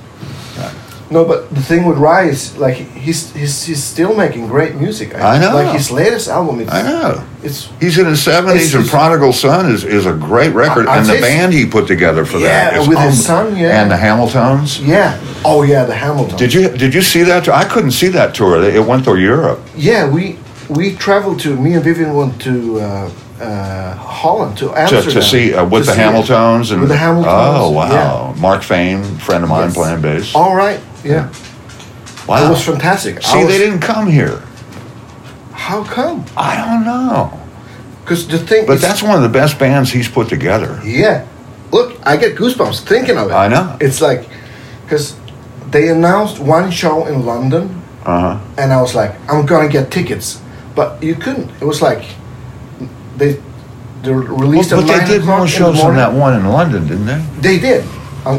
[SPEAKER 1] No, but the thing with Rye is like he's he's he's still making great music.
[SPEAKER 2] I know.
[SPEAKER 1] Like his latest album, it's
[SPEAKER 2] I know.
[SPEAKER 1] it's
[SPEAKER 2] He's in his
[SPEAKER 1] It's-
[SPEAKER 2] seventies, and
[SPEAKER 1] it's-
[SPEAKER 2] Prodigal Son is, is a great record,
[SPEAKER 1] I- I
[SPEAKER 2] and the
[SPEAKER 1] taste-
[SPEAKER 2] band he put together for that
[SPEAKER 1] Yeah,
[SPEAKER 2] is
[SPEAKER 1] with his
[SPEAKER 2] unbelievable.
[SPEAKER 1] son, yeah.
[SPEAKER 2] and the Hamiltons.
[SPEAKER 1] yeah. Oh yeah, the Hamilton.
[SPEAKER 2] Did you did you see that? tour? I couldn't see that tour. It went through Europe.
[SPEAKER 1] Yeah, we we traveled to me and Vivian went to uh, uh, Holland to
[SPEAKER 2] to,
[SPEAKER 1] Amsterdam
[SPEAKER 2] to see uh,
[SPEAKER 1] to
[SPEAKER 2] with the
[SPEAKER 1] see it.
[SPEAKER 2] Hamiltons and
[SPEAKER 1] With the Hamiltons,
[SPEAKER 2] Oh wow, Mark Fame, friend of mine,
[SPEAKER 1] Yes.
[SPEAKER 2] playing bass.
[SPEAKER 1] All right, yeah,
[SPEAKER 2] wow,
[SPEAKER 1] it was fantastic. I
[SPEAKER 2] See,
[SPEAKER 1] was-
[SPEAKER 2] they didn't come here.
[SPEAKER 1] How come?
[SPEAKER 2] I don't know,
[SPEAKER 1] Because the thing,
[SPEAKER 2] but
[SPEAKER 1] is-
[SPEAKER 2] that's one of the best bands he's put together.
[SPEAKER 1] yeah. Look, I get goosebumps thinking of it.
[SPEAKER 2] I know.
[SPEAKER 1] It's like because they announced one show in London,
[SPEAKER 2] Uh huh.
[SPEAKER 1] and I was like, I'm gonna get tickets, but you couldn't. It was like they they released
[SPEAKER 2] but
[SPEAKER 1] at
[SPEAKER 2] they
[SPEAKER 1] nine
[SPEAKER 2] did
[SPEAKER 1] o'clock
[SPEAKER 2] more
[SPEAKER 1] in the
[SPEAKER 2] shows than
[SPEAKER 1] morning.
[SPEAKER 2] that one in London, didn't they?
[SPEAKER 1] They did. Um,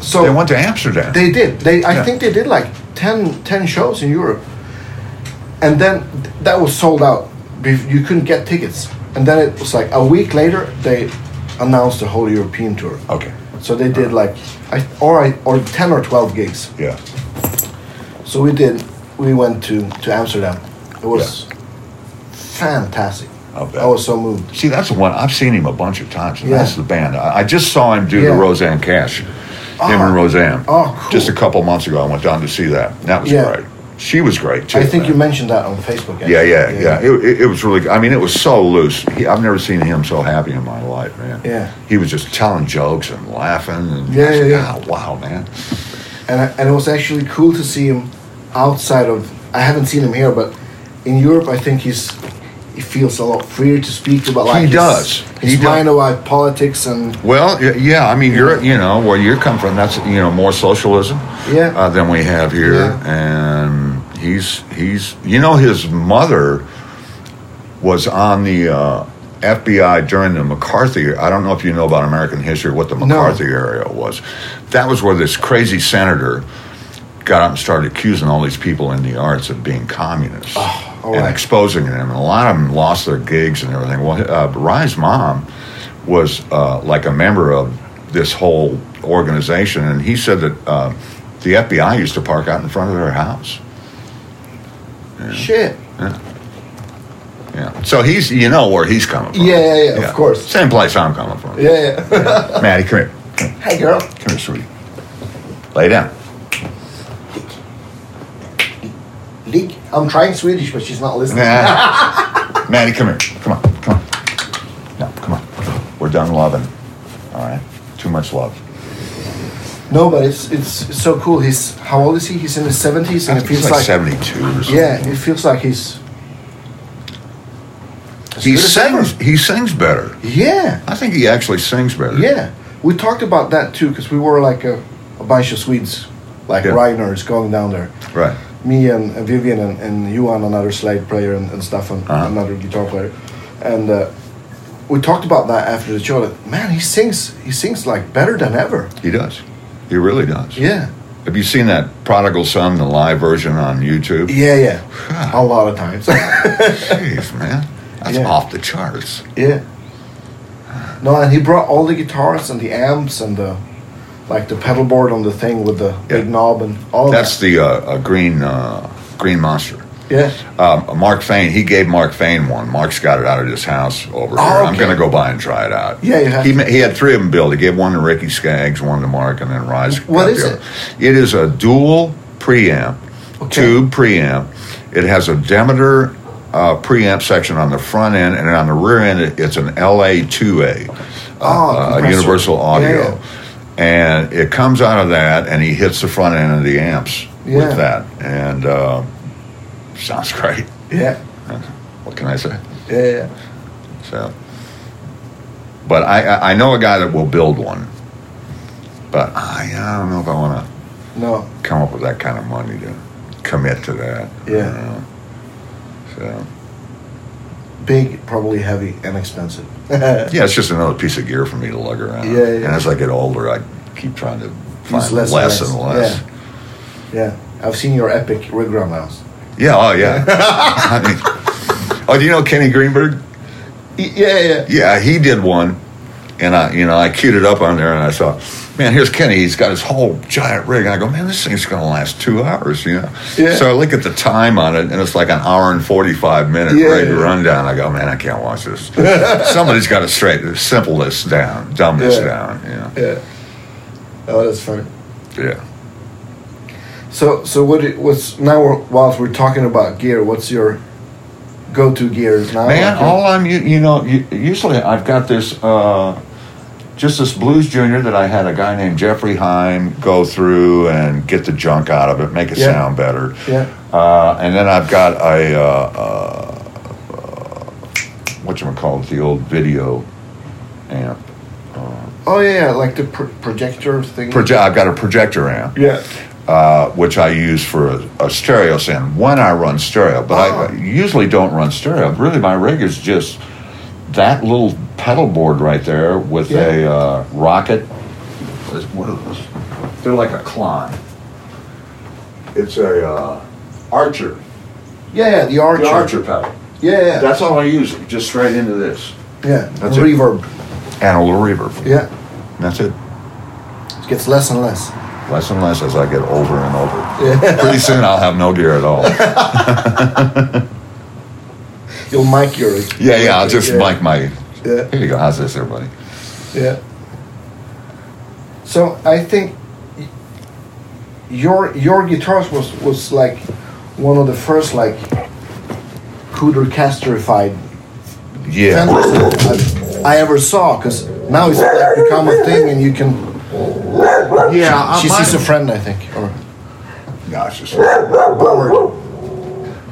[SPEAKER 1] so
[SPEAKER 2] They went to Amsterdam.
[SPEAKER 1] They did. They I
[SPEAKER 2] Yeah.
[SPEAKER 1] think they did like 10, 10 shows in Europe, and then th- that was sold out. Be- You couldn't get tickets, and then it was like a week later they announced the whole European tour.
[SPEAKER 2] okay.
[SPEAKER 1] So they did like, I, or I, or ten or twelve gigs.
[SPEAKER 2] Yeah.
[SPEAKER 1] So we did. We went to to Amsterdam. It was fantastic.
[SPEAKER 2] I'll bet.
[SPEAKER 1] I was so moved.
[SPEAKER 2] See, that's the one I've seen him a bunch of times. And
[SPEAKER 1] Yeah.
[SPEAKER 2] That's the band. I, I just saw him do
[SPEAKER 1] Yeah.
[SPEAKER 2] the Roseanne Cash. Him and
[SPEAKER 1] Oh.
[SPEAKER 2] Roseanne.
[SPEAKER 1] Oh, cool.
[SPEAKER 2] Just a couple months ago, I went down to see that. That was
[SPEAKER 1] Yeah.
[SPEAKER 2] great. She was great too.
[SPEAKER 1] I think
[SPEAKER 2] man.
[SPEAKER 1] you mentioned that on Facebook.
[SPEAKER 2] Yeah,
[SPEAKER 1] actually.
[SPEAKER 2] yeah, yeah. It, it, it was really. I mean, it was so loose. He, I've never seen him so happy in my life, man.
[SPEAKER 1] Yeah.
[SPEAKER 2] He was just telling jokes and laughing. And I
[SPEAKER 1] Yeah,
[SPEAKER 2] was
[SPEAKER 1] yeah,
[SPEAKER 2] like,
[SPEAKER 1] yeah.
[SPEAKER 2] "Ah, wow, man.
[SPEAKER 1] and I, and it was actually cool to see him outside of. I haven't seen him here, but in Europe, I think he's he feels a lot freer to speak about like
[SPEAKER 2] He
[SPEAKER 1] his,
[SPEAKER 2] does.
[SPEAKER 1] his
[SPEAKER 2] He does.
[SPEAKER 1] mind about politics and
[SPEAKER 2] Well, y- yeah. I mean, you're you know where you come from. That's you know more socialism.
[SPEAKER 1] Yeah.
[SPEAKER 2] Uh, than we have here,
[SPEAKER 1] Yeah.
[SPEAKER 2] and he's he's you know his mother was on the. Uh, FBI during the McCarthy. I don't know if you know about American history what the
[SPEAKER 1] No.
[SPEAKER 2] McCarthy area was. That was where this crazy senator got up and started accusing all these people in the arts of being communists
[SPEAKER 1] all
[SPEAKER 2] Oh, and
[SPEAKER 1] right.
[SPEAKER 2] exposing them. And a lot of them lost their gigs and everything. Well, uh, Rye's mom was uh, like a member of this whole organization, and he said that uh, the FBI used to park out in front of their house.
[SPEAKER 1] shit.
[SPEAKER 2] Yeah. So he's, you know, where he's coming from.
[SPEAKER 1] Yeah, yeah, yeah, of course.
[SPEAKER 2] Same place I'm coming from.
[SPEAKER 1] Yeah, yeah.
[SPEAKER 2] Maddie, come here.
[SPEAKER 1] hey, girl.
[SPEAKER 2] Come here, sweetie. Lay down.
[SPEAKER 1] Leak. I'm trying Swedish, but she's not listening.
[SPEAKER 2] Nah. Maddie, come here. Come on. Come on. No, come on. We're done loving. All right. Too much love.
[SPEAKER 1] No, but it's, it's it's so cool. He's how old is he? He's in his seventies, and it
[SPEAKER 2] He's
[SPEAKER 1] feels
[SPEAKER 2] like,
[SPEAKER 1] like,
[SPEAKER 2] 72 or something.
[SPEAKER 1] yeah, it feels like he's. as
[SPEAKER 2] He
[SPEAKER 1] good as ever.
[SPEAKER 2] sings, he sings better.
[SPEAKER 1] Yeah.
[SPEAKER 2] I think he actually sings better.
[SPEAKER 1] Yeah, we talked about that too because we were like a, a bunch of Swedes, like
[SPEAKER 2] Yeah.
[SPEAKER 1] Reiners going down there.
[SPEAKER 2] Right.
[SPEAKER 1] Me and, and Vivian and, and Johan, another slide player, and, and Stefan,
[SPEAKER 2] Uh-huh.
[SPEAKER 1] another guitar player, and uh, we talked about that after the show. That man, he sings, he sings like better than ever.
[SPEAKER 2] He does. He really does.
[SPEAKER 1] Yeah,
[SPEAKER 2] Have you seen that Prodigal Son, the live version on YouTube?
[SPEAKER 1] yeah, yeah. a lot of times.
[SPEAKER 2] Jeez, man. That's
[SPEAKER 1] Yeah.
[SPEAKER 2] off the charts.
[SPEAKER 1] Yeah. No, and he brought all the guitars and the amps and the like the pedal board on the thing with the big
[SPEAKER 2] Yeah.
[SPEAKER 1] knob and all
[SPEAKER 2] That's the uh, uh, green uh, green monster.
[SPEAKER 1] that. Yeah.
[SPEAKER 2] Um, Mark Fain, he gave Mark Fain one. Mark's got it out of his house over
[SPEAKER 1] Oh,
[SPEAKER 2] here. I'm
[SPEAKER 1] okay.
[SPEAKER 2] going to go by and try it out.
[SPEAKER 1] Yeah, you have
[SPEAKER 2] he,
[SPEAKER 1] to.
[SPEAKER 2] ma- he had three of them built. He gave one to Ricky Skaggs, one to Mark, and then Rise.
[SPEAKER 1] What
[SPEAKER 2] got
[SPEAKER 1] is
[SPEAKER 2] the other. It is a dual preamp,
[SPEAKER 1] Okay.
[SPEAKER 2] tube preamp. It has a Demeter uh, preamp section on the front end, and on the rear end, it- it's an LA2A, uh,
[SPEAKER 1] Oh,
[SPEAKER 2] uh,
[SPEAKER 1] compressor.
[SPEAKER 2] Universal
[SPEAKER 1] Yeah,
[SPEAKER 2] Audio.
[SPEAKER 1] yeah.
[SPEAKER 2] And it comes out of that, and he hits the front end of the amps
[SPEAKER 1] Yeah.
[SPEAKER 2] with that. And uh, sounds great
[SPEAKER 1] Yeah.
[SPEAKER 2] what can I say?
[SPEAKER 1] Yeah. yeah.
[SPEAKER 2] So, but I I- I know a guy that will build one, but I, I don't know if I want to
[SPEAKER 1] No.
[SPEAKER 2] come up with that kind of money to commit to that. you
[SPEAKER 1] Yeah.
[SPEAKER 2] know. So
[SPEAKER 1] Big, probably heavy and expensive.
[SPEAKER 2] yeah, it's just another piece of gear for me to lug around.
[SPEAKER 1] Yeah, yeah.
[SPEAKER 2] And as I get older, I keep trying to find
[SPEAKER 1] Use
[SPEAKER 2] less,
[SPEAKER 1] less
[SPEAKER 2] and
[SPEAKER 1] and less.
[SPEAKER 2] less.
[SPEAKER 1] Yeah. I've seen your epic with grandma's.
[SPEAKER 2] Yeah. oh yeah. I mean, oh, do you know Kenny Greenberg?
[SPEAKER 1] Y- Yeah, yeah.
[SPEAKER 2] Yeah, he did one, and I, you know, I queued it up on there, and I thought, man, here's Kenny. He's got his whole giant rig, and I go, man, this thing's gonna last two hours, you know.
[SPEAKER 1] Yeah.
[SPEAKER 2] So I look at the time on it, and it's like an hour and forty-five minute
[SPEAKER 1] Yeah.
[SPEAKER 2] rig rundown. I go, man, I can't watch this. Somebody's got to straighten, simple this down, dumb this
[SPEAKER 1] Yeah.
[SPEAKER 2] down. Yeah,
[SPEAKER 1] Yeah. Oh, that's funny.
[SPEAKER 2] yeah.
[SPEAKER 1] So, so what? do- What's now? We're, whilst we're talking about gear, what's your go-to gears now?
[SPEAKER 2] Man,
[SPEAKER 1] Like your-
[SPEAKER 2] all I'm, you, you know, u- usually I've got this, uh, just this Blues Junior that I had a guy named Jeffrey Heim go through and get the junk out of it, make it
[SPEAKER 1] Yeah.
[SPEAKER 2] sound better.
[SPEAKER 1] yeah,
[SPEAKER 2] Uh, and then I've got a, uh, uh, uh, call it, the old video amp.
[SPEAKER 1] oh yeah, yeah, like the pr- projector thing.
[SPEAKER 2] Proje- I've got a projector amp.
[SPEAKER 1] Yeah,
[SPEAKER 2] uh, which I use for a, a stereo sound when I run stereo. But
[SPEAKER 1] Oh.
[SPEAKER 2] I usually don't run stereo. Really, my rig is just that little pedal board right there with a
[SPEAKER 1] Yeah.
[SPEAKER 2] uh, rocket. What is- What are those? They're like a Klon. It's a uh, Archer.
[SPEAKER 1] yeah, yeah. The Archer.
[SPEAKER 2] The Archer pedal.
[SPEAKER 1] Yeah, yeah.
[SPEAKER 2] That's all I use. Just straight into this.
[SPEAKER 1] yeah.
[SPEAKER 2] That's it.
[SPEAKER 1] reverb.
[SPEAKER 2] And a little reverb.
[SPEAKER 1] Yeah,
[SPEAKER 2] That's it.
[SPEAKER 1] it gets less and less.
[SPEAKER 2] Less and less as I get older and older.
[SPEAKER 1] Yeah.
[SPEAKER 2] Pretty soon I'll have no gear at all.
[SPEAKER 1] You'll mic your.
[SPEAKER 2] Yeah, yeah. I'll just mic my
[SPEAKER 1] Yeah,
[SPEAKER 2] Here you go. How's this, everybody?
[SPEAKER 1] yeah. So I think y- your your guitars was was like one of the first like Cooter casterified
[SPEAKER 2] Yeah.
[SPEAKER 1] Fender I, I ever saw because now it's like become a thing and you can
[SPEAKER 2] Yeah.
[SPEAKER 1] she's schizophrenic I think or
[SPEAKER 2] No, it's just.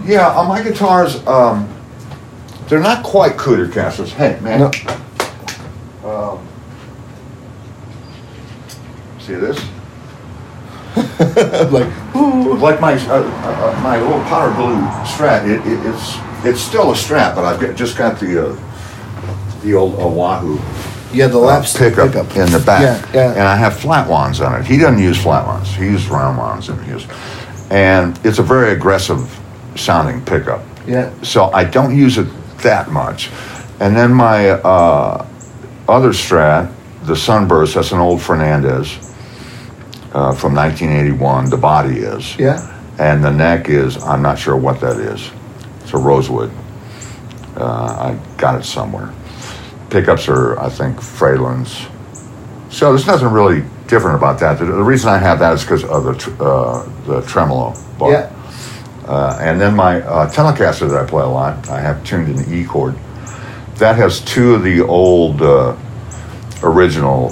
[SPEAKER 2] Yeah, on my guitars, um, they're not quite cooter casters. Hey, man.
[SPEAKER 1] No.
[SPEAKER 2] Um, see this?
[SPEAKER 1] like
[SPEAKER 2] Like my uh, uh, uh, my little powder blue Strat, it, it, it's it's still a Strat, but I've got, just got the uh, the old Oahu
[SPEAKER 1] yeah the
[SPEAKER 2] uh,
[SPEAKER 1] laps
[SPEAKER 2] pickup, in the back.
[SPEAKER 1] Yeah, yeah.
[SPEAKER 2] And I have flat wands on it. He doesn't use flat wands. He uses round wands in his. And it's a very aggressive sounding pickup.
[SPEAKER 1] yeah
[SPEAKER 2] So I don't use it that much. And then my uh, other strat, the Sunburst, that's an old Fernandez uh, from 1981. The body is.
[SPEAKER 1] yeah
[SPEAKER 2] And the neck is, I'm not sure what that is. It's a rosewood. Uh, I got it somewhere. Pickups are, I think, Fralins. So there's nothing really different about that. The, the reason I have that is because of the, tr- uh, the tremolo bar.
[SPEAKER 1] yeah
[SPEAKER 2] Uh, and then my uh, Telecaster that I play a lot, I have tuned in the E chord. That has two of the old uh, original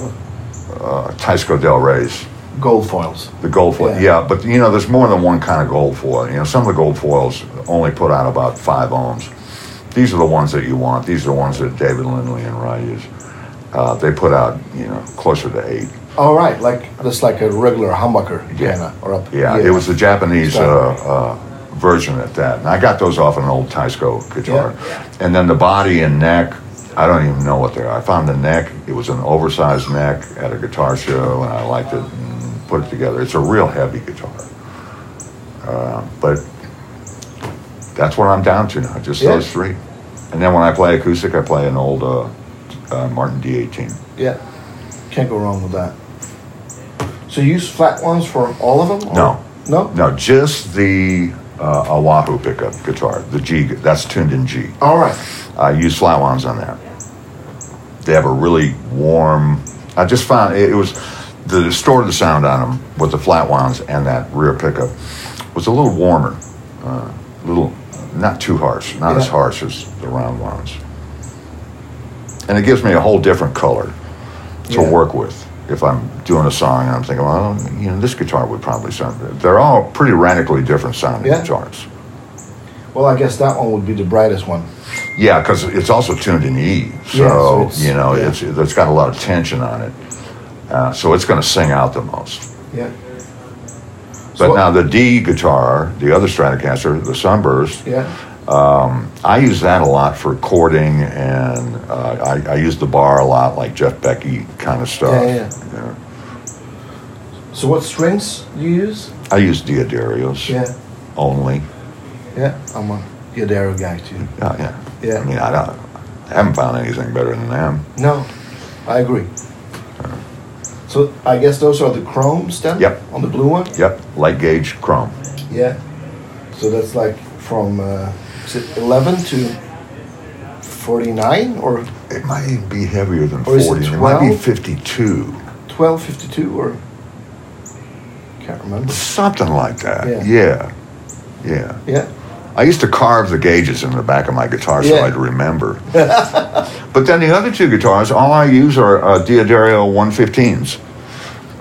[SPEAKER 2] uh, Tysco Del Rey's
[SPEAKER 1] gold foils
[SPEAKER 2] the gold foil,
[SPEAKER 1] Yeah.
[SPEAKER 2] yeah. but you know, there's more than one kind of gold foil. You know, some of the gold foils only put out about five ohms. These are the ones that you want. These are the ones that David Lindley and Rye use. Uh, they put out, you know, closer to eight.
[SPEAKER 1] all right like that's like a regular humbucker
[SPEAKER 2] Yeah.
[SPEAKER 1] kinda, or up
[SPEAKER 2] Yeah, it was the Japanese uh,
[SPEAKER 1] Sorry.
[SPEAKER 2] uh, version at that. And I got those off an old Tysco guitar. And then the body and neck, I don't even know what they are. I found the neck, it was an oversized neck at a guitar show, and I liked it and put it together. It's a real heavy guitar. Uh, but that's what I'm down to now, just
[SPEAKER 1] Yeah.
[SPEAKER 2] those three. And then when I play acoustic, I play an old uh, uh, Martin D18.
[SPEAKER 1] Yeah, can't go wrong with that. So you use flat ones for all of them? or-
[SPEAKER 2] No.
[SPEAKER 1] No?
[SPEAKER 2] No, just the uh, Oahu pickup guitar, the G. That's tuned in G.
[SPEAKER 1] All right.
[SPEAKER 2] I use flat ones on there. They have a really warm. I just found it, it was the distorted sound on them with the flat ones and that rear pickup was a little warmer, uh, little not too harsh, not as
[SPEAKER 1] Yeah.
[SPEAKER 2] harsh as the round ones. And it gives me a whole different color to
[SPEAKER 1] Yeah.
[SPEAKER 2] work with. If I'm doing a song and I'm thinking, well, you know, this guitar would probably sound. They're all pretty radically different sounding
[SPEAKER 1] Yeah.
[SPEAKER 2] guitars.
[SPEAKER 1] Well, I guess that one would be the brightest one.
[SPEAKER 2] Yeah, because it's also tuned in E, so,
[SPEAKER 1] Yeah, so it's-
[SPEAKER 2] you know
[SPEAKER 1] yeah.
[SPEAKER 2] it's it's got a lot of tension on it, uh, so it's going to sing out the most.
[SPEAKER 1] Yeah.
[SPEAKER 2] But
[SPEAKER 1] So-
[SPEAKER 2] now the D guitar, the other Stratocaster, the Sunburst, um,
[SPEAKER 1] Yeah.
[SPEAKER 2] I use that a lot for chording, and uh, I, I use the bar a lot, like Jeff Becky kind of stuff.
[SPEAKER 1] Yeah, yeah,
[SPEAKER 2] You know.
[SPEAKER 1] So what strings do you use?
[SPEAKER 2] I use Diodarios
[SPEAKER 1] Yeah.
[SPEAKER 2] only.
[SPEAKER 1] Yeah. I'm a Yadero guy too.
[SPEAKER 2] Yeah, yeah.
[SPEAKER 1] Yeah.
[SPEAKER 2] I mean, I don't. I haven't found anything better than them.
[SPEAKER 1] No, I agree. So I guess those are the chromes then?
[SPEAKER 2] Yep.
[SPEAKER 1] On the blue one?
[SPEAKER 2] Yep, light gauge chrome.
[SPEAKER 1] Yeah. So that's like from uh, is it 11 to 49 or
[SPEAKER 2] It might even be heavier than
[SPEAKER 1] Or is it
[SPEAKER 2] 40. It might be
[SPEAKER 1] 12?
[SPEAKER 2] 52.
[SPEAKER 1] 1252 or can't remember.
[SPEAKER 2] Something like that. Yeah. yeah.
[SPEAKER 1] Yeah.
[SPEAKER 2] I used to carve the gauges in the back of my guitar so
[SPEAKER 1] Yeah.
[SPEAKER 2] I'd remember. but then the other two guitars, all I use are uh, Diodario 115s.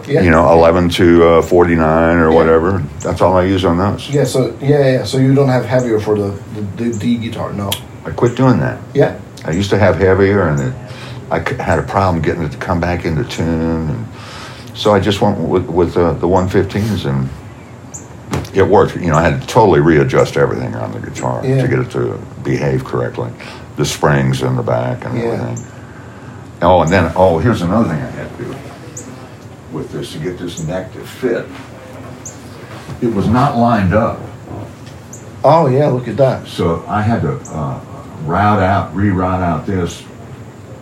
[SPEAKER 1] Yeah.
[SPEAKER 2] You know, 11 to uh, 49 or
[SPEAKER 1] Yeah.
[SPEAKER 2] whatever. That's all I use on those.
[SPEAKER 1] Yeah, so yeah, yeah, yeah. so you don't have heavier for the the, the D guitar, no.
[SPEAKER 2] I quit doing that.
[SPEAKER 1] Yeah.
[SPEAKER 2] I used to have heavier, and it, I c- had a problem getting it to come back into tune, and so I just went with, with uh, the 115s, and it worked. You know, I had to totally readjust everything on the guitar
[SPEAKER 1] Yeah.
[SPEAKER 2] to get it to behave correctly, the springs in the back and
[SPEAKER 1] Yeah.
[SPEAKER 2] everything. Oh, and then oh, here's another thing I had to do with this to get this neck to fit. It was not lined up.
[SPEAKER 1] Oh yeah, look at that.
[SPEAKER 2] So I had to uh, route out, reroute out this,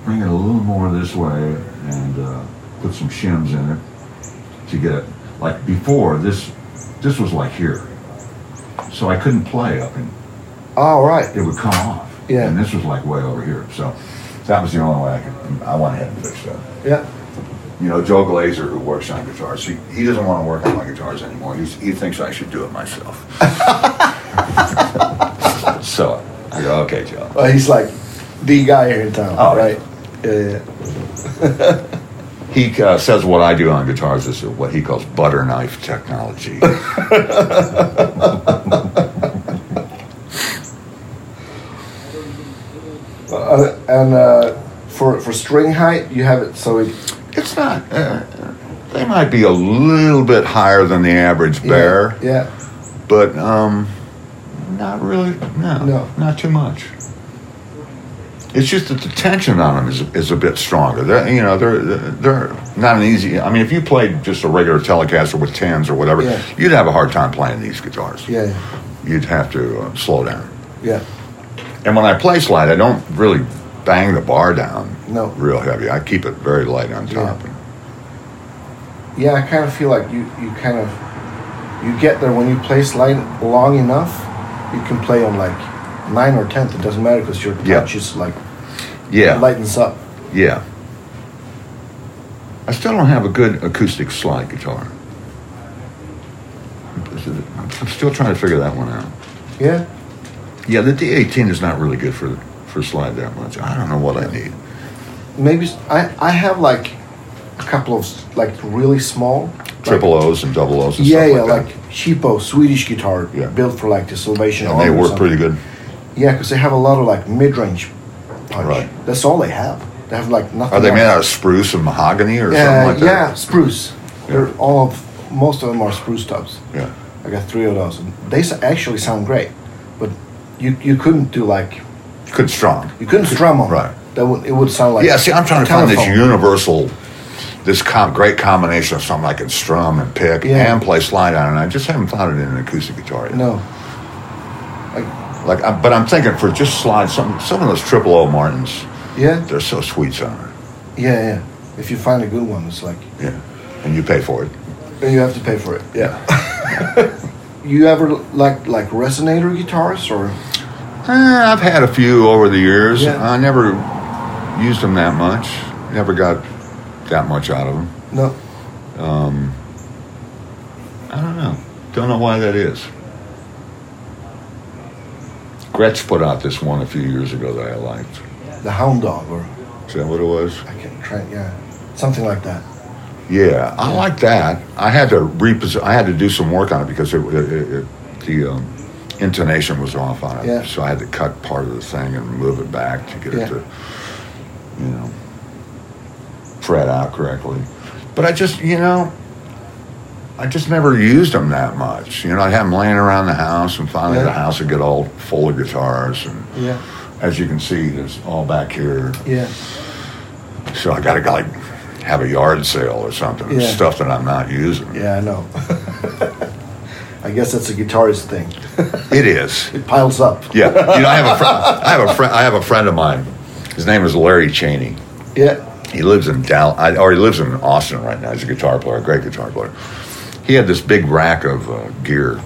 [SPEAKER 2] bring it a little more this way, and uh, put some shims in it to get it. Like before, this this was like here, so I couldn't play up, and
[SPEAKER 1] All right.
[SPEAKER 2] it would come off.
[SPEAKER 1] Yeah.
[SPEAKER 2] And this was like way over here, so that was the only way I could. I went ahead and fixed that.
[SPEAKER 1] Yeah.
[SPEAKER 2] You know, Joe Glazer, who works on guitars, he, he doesn't want to work on my guitars anymore. He's, he thinks I should do it myself. so I go, okay, Joe.
[SPEAKER 1] Well, Uh, he's like the guy here in town,
[SPEAKER 2] Oh,
[SPEAKER 1] right? Yeah, yeah.
[SPEAKER 2] He uh, says what I do on guitars is what he calls butter knife technology.
[SPEAKER 1] yeah. Uh, and uh, for for string height, you have it so it
[SPEAKER 2] it's not. Uh, they might be a little bit higher than the average bear,
[SPEAKER 1] Yeah.
[SPEAKER 2] but um, not really. No,
[SPEAKER 1] No.
[SPEAKER 2] not too much. It's just that the tension on them is, is a bit stronger. They're, you know, they're they're not an easy. I mean, if you played just a regular Telecaster with tens or whatever,
[SPEAKER 1] Yeah.
[SPEAKER 2] you'd have a hard time playing these guitars.
[SPEAKER 1] Yeah. Yeah.
[SPEAKER 2] You'd have to uh, slow down.
[SPEAKER 1] yeah.
[SPEAKER 2] And when I play slide, I don't really bang the bar down
[SPEAKER 1] No.
[SPEAKER 2] real heavy. I keep it very light on top.
[SPEAKER 1] Yeah, I kind of feel like you, you kind of you get there when you play slide long enough. You can play on like nine or tenth. It doesn't matter because your touch
[SPEAKER 2] Yeah.
[SPEAKER 1] is like
[SPEAKER 2] Yeah,
[SPEAKER 1] lightens up.
[SPEAKER 2] yeah. I still don't have a good acoustic slide guitar. I'm still trying to figure that one out.
[SPEAKER 1] Yeah,
[SPEAKER 2] Yeah, the D18 is not really good for for slide that much. I don't know what I need.
[SPEAKER 1] maybe s- I I have like a couple of s- like really small like-
[SPEAKER 2] Triple O's and double O's and
[SPEAKER 1] yeah,
[SPEAKER 2] stuff
[SPEAKER 1] yeah,
[SPEAKER 2] like
[SPEAKER 1] like cheapo Swedish guitar
[SPEAKER 2] Yeah.
[SPEAKER 1] built for like the Salvation
[SPEAKER 2] that. and they
[SPEAKER 1] Army or
[SPEAKER 2] work pretty
[SPEAKER 1] something.
[SPEAKER 2] good.
[SPEAKER 1] Yeah, because they have a lot of like mid-range punch.
[SPEAKER 2] Right.
[SPEAKER 1] That's all they have. They have like nothing.
[SPEAKER 2] Are they
[SPEAKER 1] else.
[SPEAKER 2] made out of spruce and mahogany or
[SPEAKER 1] Yeah,
[SPEAKER 2] something like
[SPEAKER 1] yeah,
[SPEAKER 2] that?
[SPEAKER 1] spruce. They're all of, most of them are spruce tubs.
[SPEAKER 2] Yeah.
[SPEAKER 1] I got three of those, and they s- actually sound great, but you you couldn't do like
[SPEAKER 2] Yeah. Good strong.
[SPEAKER 1] you couldn't strum them.
[SPEAKER 2] Right.
[SPEAKER 1] That would it would sound like
[SPEAKER 2] Oh, yeah, see, I'm trying to find this
[SPEAKER 1] telephone.
[SPEAKER 2] universal, this com- great combination of something I can strum and pick
[SPEAKER 1] Yeah.
[SPEAKER 2] and play slide on, and I just haven't found it in an acoustic guitar yet.
[SPEAKER 1] No. Like
[SPEAKER 2] Like, I'm, but I'm thinking for just slides, some some of those triple O Martins,
[SPEAKER 1] Yeah,
[SPEAKER 2] they're so sweet sour.
[SPEAKER 1] yeah, yeah. If you find a good one, it's like
[SPEAKER 2] Yeah, and you pay for it.
[SPEAKER 1] and you have to pay for it.
[SPEAKER 2] Yeah.
[SPEAKER 1] You ever like like resonator guitars or?
[SPEAKER 2] Uh, I've had a few over the years.
[SPEAKER 1] Yeah.
[SPEAKER 2] I never used them that much. Never got that much out of them.
[SPEAKER 1] No.
[SPEAKER 2] I don't know. Don't know why that is. Gretsch put out this one a few years ago that I liked.
[SPEAKER 1] The hound dog or
[SPEAKER 2] Is that what it was?
[SPEAKER 1] I can't try yeah. Something like that.
[SPEAKER 2] Yeah, I like that. I had to reposition. I had to do some work on it because it, it, it, it- the um, intonation was off on it.
[SPEAKER 1] Yeah.
[SPEAKER 2] So I had to cut part of the thing and move it back to get
[SPEAKER 1] Yeah.
[SPEAKER 2] it to, you know, fret out correctly. But I just, you know, I just never used them that much. You know, I'd have them laying around the house, and finally
[SPEAKER 1] Yeah.
[SPEAKER 2] the house would get all full of guitars. And
[SPEAKER 1] Yeah.
[SPEAKER 2] as you can see, there's all back here.
[SPEAKER 1] Yeah.
[SPEAKER 2] So I gotta like have a yard sale or something.
[SPEAKER 1] Yeah.
[SPEAKER 2] Stuff that I'm not using.
[SPEAKER 1] Yeah, I know. I guess that's a guitarist thing.
[SPEAKER 2] It is.
[SPEAKER 1] It piles up.
[SPEAKER 2] Yeah. You know, I have a friend. I have a friend. I have a friend of mine. His name is Larry Cheney.
[SPEAKER 1] Yeah.
[SPEAKER 2] He lives in Dallas, or he lives in Austin right now. He's a guitar player, a great guitar player. He had this big rack of uh, gear,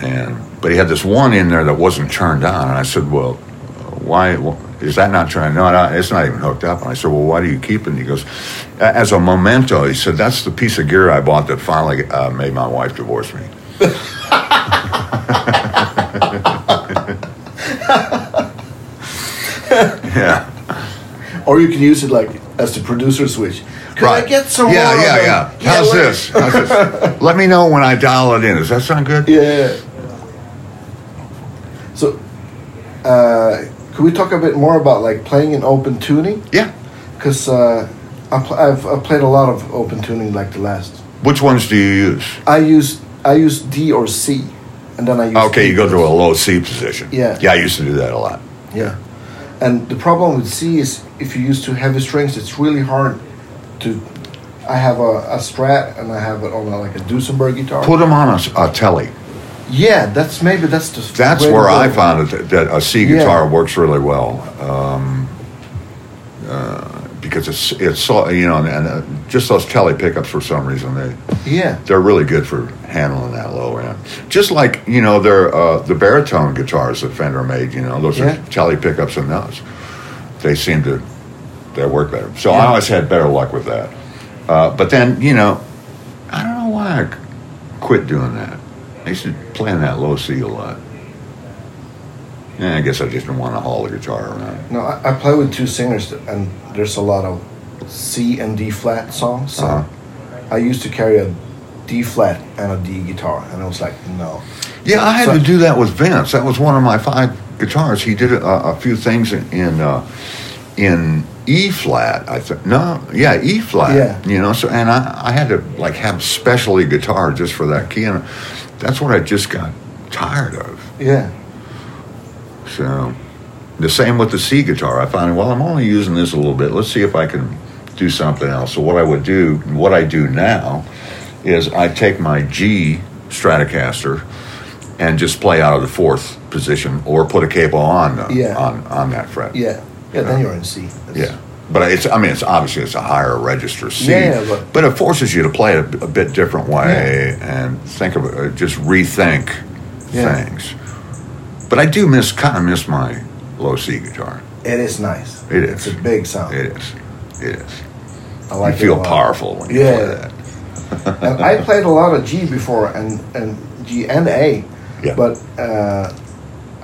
[SPEAKER 2] and but he had this one in there that wasn't turned on. And I said, "Well, why wh- is that not turned on? No, it's not even hooked up." And I said, "Well, why do you keep it?" And he goes, "A- "As a memento." He said, "That's the piece of gear I bought that finally uh, made my wife divorce me." yeah.
[SPEAKER 1] Or you can use it like as the producer switch. Could I get some
[SPEAKER 2] yeah,
[SPEAKER 1] more of
[SPEAKER 2] yeah,
[SPEAKER 1] them?
[SPEAKER 2] yeah, How's
[SPEAKER 1] wait.
[SPEAKER 2] this? How's this? Let me know when I dial it in. Does that sound good?
[SPEAKER 1] Yeah. So, uh, can we talk a bit more about like playing in open tuning?
[SPEAKER 2] Yeah.
[SPEAKER 1] Because uh, I pl- I've, I've played a lot of open tuning, like the last.
[SPEAKER 2] Which ones do you use?
[SPEAKER 1] I use I use D or C, and then I use.
[SPEAKER 2] Okay,
[SPEAKER 1] D
[SPEAKER 2] you go to a
[SPEAKER 1] first.
[SPEAKER 2] low C position.
[SPEAKER 1] Yeah.
[SPEAKER 2] Yeah, I used to do that a lot.
[SPEAKER 1] Yeah, and the problem with C is if you use too heavy strings, it's really hard to. I have a, a Strat and I have it on a, like a Duesenberg guitar.
[SPEAKER 2] Put them on a, s- a telly.
[SPEAKER 1] yeah, that's maybe that's the.
[SPEAKER 2] That's
[SPEAKER 1] way to
[SPEAKER 2] where I
[SPEAKER 1] go.
[SPEAKER 2] found it that, that a C
[SPEAKER 1] Yeah.
[SPEAKER 2] guitar works really well. Um, uh, because it's it's so you know and, and uh, just those telly pickups for some reason they
[SPEAKER 1] Yeah,
[SPEAKER 2] they're really good for handling that low end. Just like you know, they're uh, the baritone guitars that Fender made. You know, those
[SPEAKER 1] Yeah.
[SPEAKER 2] are tally pickups in those. They seem to they work better. So I
[SPEAKER 1] Yeah.
[SPEAKER 2] always had better luck with that. Uh, but then you know, I don't know why I c- quit doing that. I used to play in that low C a lot. Yeah, I guess I just didn't want to haul the guitar around.
[SPEAKER 1] no, I, I play with two singers and there's a lot of C and D flat songs. So
[SPEAKER 2] Uh-huh.
[SPEAKER 1] I used to carry a D flat and a D guitar, and I was like, no.
[SPEAKER 2] Yeah, I had
[SPEAKER 1] So-
[SPEAKER 2] to do that with Vince. That was one of my five guitars. He did a, a few things in in, uh, in E flat. I think no, yeah, E flat.
[SPEAKER 1] Yeah.
[SPEAKER 2] You know, so and I, I had to like have specialty guitar just for that key, and that's what I just got tired of.
[SPEAKER 1] Yeah,
[SPEAKER 2] So the same with the C guitar. I found well, I'm only using this a little bit. Let's see if I can do something else. So what I would do, what I do now, is I take my G Stratocaster and just play out of the fourth position, or put a capo on the,
[SPEAKER 1] Yeah.
[SPEAKER 2] on on that fret.
[SPEAKER 1] yeah, yeah. Then you're in C. That's-
[SPEAKER 2] Yeah. But it's, I mean, it's obviously it's a higher register C,
[SPEAKER 1] Yeah, yeah, but-
[SPEAKER 2] it forces you to play it a, a bit different way and think of uh, just rethink
[SPEAKER 1] Yeah.
[SPEAKER 2] things. But I do miss kind of miss my low C guitar.
[SPEAKER 1] It is nice.
[SPEAKER 2] It
[SPEAKER 1] It's
[SPEAKER 2] is.
[SPEAKER 1] a big sound.
[SPEAKER 2] It is, it is.
[SPEAKER 1] I like it
[SPEAKER 2] you
[SPEAKER 1] a
[SPEAKER 2] feel
[SPEAKER 1] lot.
[SPEAKER 2] powerful when you
[SPEAKER 1] Yeah.
[SPEAKER 2] play that.
[SPEAKER 1] and I played a lot of G before and, and G and A,
[SPEAKER 2] Yeah.
[SPEAKER 1] but uh,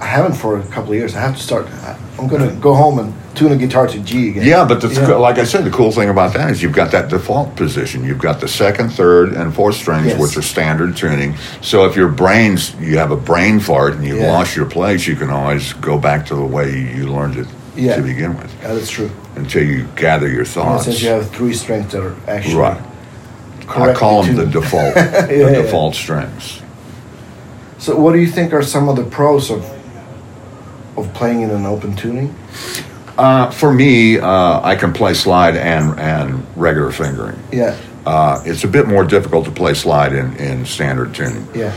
[SPEAKER 1] I haven't for a couple of years. I have to start. I- I'm gonna go home and tune a guitar to G again.
[SPEAKER 2] Yeah, but the,
[SPEAKER 1] Yeah.
[SPEAKER 2] like I said, the cool thing about that is you've got that default position. You've got the second, third, and fourth strings,
[SPEAKER 1] Yes.
[SPEAKER 2] which are standard tuning. So if your brain's, you have a brain fart and you've
[SPEAKER 1] Yeah.
[SPEAKER 2] lost your place, you can always go back to the way you learned it
[SPEAKER 1] Yeah.
[SPEAKER 2] to begin with
[SPEAKER 1] Yeah, that's true.
[SPEAKER 2] until you gather your
[SPEAKER 1] And
[SPEAKER 2] thoughts.
[SPEAKER 1] since you have three strings that are actually
[SPEAKER 2] right. I
[SPEAKER 1] correctly
[SPEAKER 2] call them the
[SPEAKER 1] tuned.
[SPEAKER 2] default, the
[SPEAKER 1] Yeah, yeah.
[SPEAKER 2] default strings.
[SPEAKER 1] So, what do you think are some of the pros of of playing in an open tuning?
[SPEAKER 2] Uh, for me, uh, I can play slide and and regular fingering.
[SPEAKER 1] Yeah,
[SPEAKER 2] Uh, it's a bit more difficult to play slide in, in standard tuning.
[SPEAKER 1] yeah,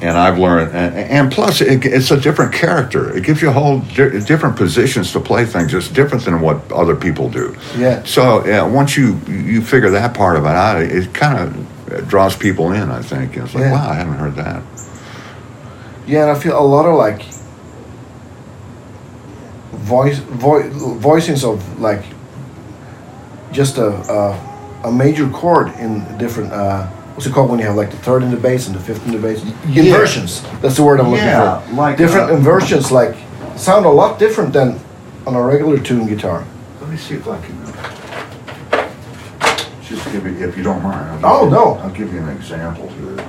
[SPEAKER 2] and I've learned, and, and plus, it, it's a different character. It gives you a whole di- different positions to play things. It's different than what other people do.
[SPEAKER 1] Yeah.
[SPEAKER 2] So yeah, once you you figure that part of it out, it, it kind of draws people in. I think it's like,
[SPEAKER 1] Yeah.
[SPEAKER 2] wow, I haven't heard that.
[SPEAKER 1] Yeah, and I feel a lot of like voice, vo- voicings of like just a, a a major chord in different. Uh, what's it called when you have like the third in the bass and the fifth in the bass?
[SPEAKER 2] Yeah.
[SPEAKER 1] Inversions. That's the word I'm looking
[SPEAKER 2] Yeah,
[SPEAKER 1] for.
[SPEAKER 2] like,
[SPEAKER 1] different
[SPEAKER 2] uh,
[SPEAKER 1] inversions, like sound a lot different than on a regular tuned guitar.
[SPEAKER 2] Let me see if I can. uh, Just give you, if you don't mind. I'll give
[SPEAKER 1] Oh,
[SPEAKER 2] you-
[SPEAKER 1] no.
[SPEAKER 2] I'll give you an example here.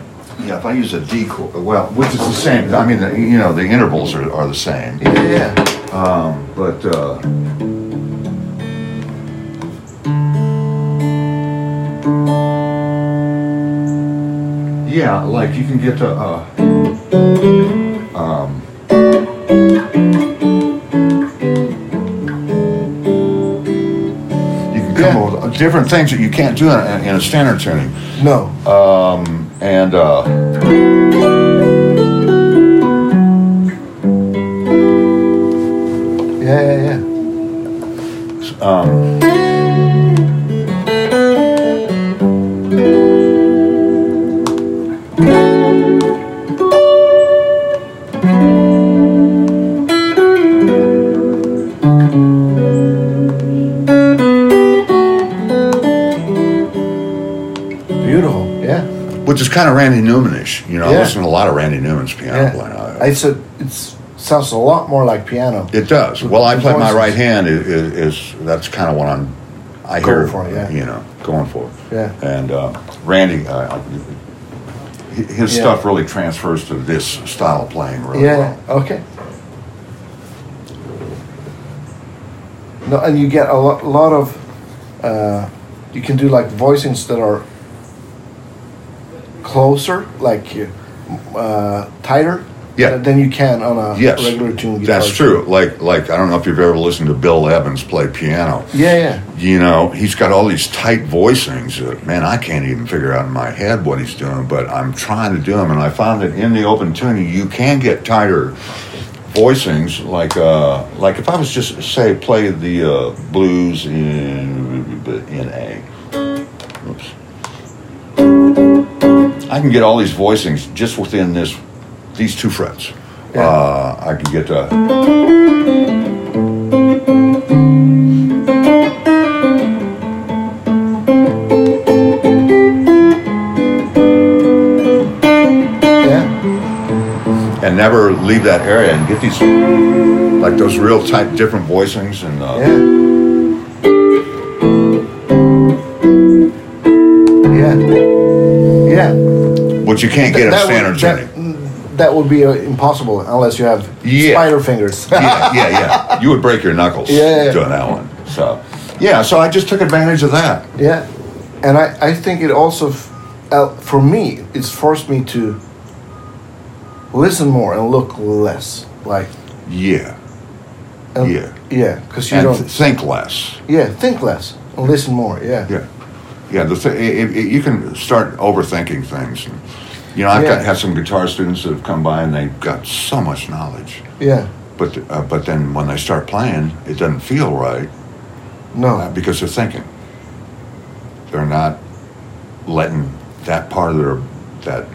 [SPEAKER 2] Yeah, if I use a D chord, well, which is the same. I mean, the, you know, the intervals are, are the same.
[SPEAKER 1] Yeah, yeah.
[SPEAKER 2] Um, but uh, yeah, like you can get to uh, um, you can come
[SPEAKER 1] Yeah.
[SPEAKER 2] up with different things that you can't do in a, in a standard tuning,
[SPEAKER 1] No.
[SPEAKER 2] and uh,
[SPEAKER 1] yeah, yeah, yeah. Beautiful. Yeah.
[SPEAKER 2] which is kind of Randy Newman-ish. You know, I
[SPEAKER 1] Yeah.
[SPEAKER 2] listen to a lot of Randy Newman's
[SPEAKER 1] Oh,
[SPEAKER 2] piano playing.
[SPEAKER 1] yeah. It's a, it's sounds a lot more like piano.
[SPEAKER 2] It does. Well, I
[SPEAKER 1] The
[SPEAKER 2] play my
[SPEAKER 1] voices.
[SPEAKER 2] right hand is, is, is that's kind of what I'm. I
[SPEAKER 1] Going
[SPEAKER 2] hear,
[SPEAKER 1] for, yeah.
[SPEAKER 2] you know, going for.
[SPEAKER 1] Yeah.
[SPEAKER 2] And uh, Randy, uh, hi- his
[SPEAKER 1] Yeah.
[SPEAKER 2] stuff really transfers to this style of playing really
[SPEAKER 1] Yeah. Okay. No, and you get a lot, lot of, uh, you can do like voicings that are closer, like uh, tighter.
[SPEAKER 2] Yeah.
[SPEAKER 1] Than you can on a
[SPEAKER 2] well. Yes,
[SPEAKER 1] regular tune guitar.
[SPEAKER 2] that's true. Like, like I don't know if you've ever listened to Bill Evans play piano.
[SPEAKER 1] Yeah, yeah.
[SPEAKER 2] You know, he's got all these tight voicings that man, I can't even figure out in my head what he's doing, but I'm trying to do them, and I found that in the open tuning, you can get tighter voicings like uh like if I was just say play the uh, blues in in A. Oops. I can get all these voicings just within this these two frets.
[SPEAKER 1] Yeah.
[SPEAKER 2] Uh, I can get uh,
[SPEAKER 1] Yeah.
[SPEAKER 2] and never leave that area and get these like those real tight different voicings and uh,
[SPEAKER 1] Yeah. Yeah. Yeah.
[SPEAKER 2] but you can't get a
[SPEAKER 1] That
[SPEAKER 2] standard
[SPEAKER 1] would-
[SPEAKER 2] tuning.
[SPEAKER 1] That, that would be uh, impossible unless you have
[SPEAKER 2] Yeah.
[SPEAKER 1] spider fingers.
[SPEAKER 2] yeah, yeah, yeah. You would break your knuckles
[SPEAKER 1] Yeah, yeah.
[SPEAKER 2] doing that one. So yeah, so I just took advantage of that.
[SPEAKER 1] yeah, and I, I think it also, f- uh, for me, it's forced me to listen more and look less. Like
[SPEAKER 2] Yeah,
[SPEAKER 1] and-
[SPEAKER 2] Yeah.
[SPEAKER 1] yeah, because you
[SPEAKER 2] and
[SPEAKER 1] don't
[SPEAKER 2] th- think less.
[SPEAKER 1] yeah think less and listen more. Yeah,
[SPEAKER 2] Yeah, yeah. The th- it, it, you can start overthinking things. And, you know, I've
[SPEAKER 1] Yeah.
[SPEAKER 2] got had some guitar students that have come by and they've got so much knowledge,
[SPEAKER 1] yeah.
[SPEAKER 2] but uh, but then when they start playing, it doesn't feel right.
[SPEAKER 1] no,
[SPEAKER 2] Uh, because they're thinking. They're not letting that part of their that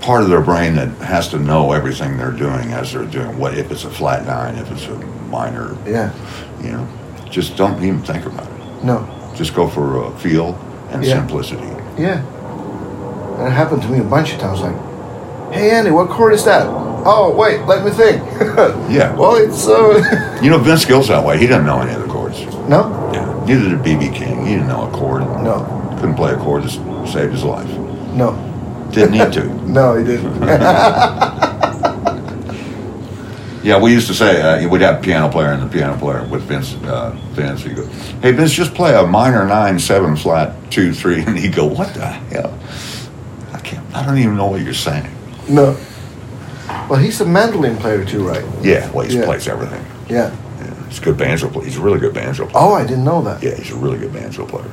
[SPEAKER 2] part of their brain that has to know everything they're doing as they're doing what if it's a flat nine, if it's a minor,
[SPEAKER 1] yeah,
[SPEAKER 2] you know, just don't even think about it.
[SPEAKER 1] no,
[SPEAKER 2] Just go for uh, feel and
[SPEAKER 1] Yeah.
[SPEAKER 2] simplicity.
[SPEAKER 1] yeah. And it happened to me a bunch of times. Like, hey Andy, what chord is that? Oh wait, let me think.
[SPEAKER 2] Yeah.
[SPEAKER 1] well, it's uh,
[SPEAKER 2] You know, Vince Gill's that way. He doesn't know any of the chords.
[SPEAKER 1] no.
[SPEAKER 2] Yeah. Neither did BB King. He didn't know a chord.
[SPEAKER 1] No,
[SPEAKER 2] Couldn't play a chord that saved his life.
[SPEAKER 1] no,
[SPEAKER 2] Didn't need to.
[SPEAKER 1] no, he didn't.
[SPEAKER 2] Yeah, we used to say uh, we'd have piano player and the piano player with Vince. Uh, Vince, he go, "Hey Vince, just play a minor nine seven flat two three, and he would go, "What the hell? I can't. I don't even know what you're saying."
[SPEAKER 1] no. Well, he's a mandolin player too, right?
[SPEAKER 2] Yeah, well, he
[SPEAKER 1] Yeah.
[SPEAKER 2] plays everything.
[SPEAKER 1] Yeah.
[SPEAKER 2] Yeah, he's a good banjo player. He's a really good banjo player.
[SPEAKER 1] Oh, I didn't know that.
[SPEAKER 2] Yeah, he's a really good banjo player.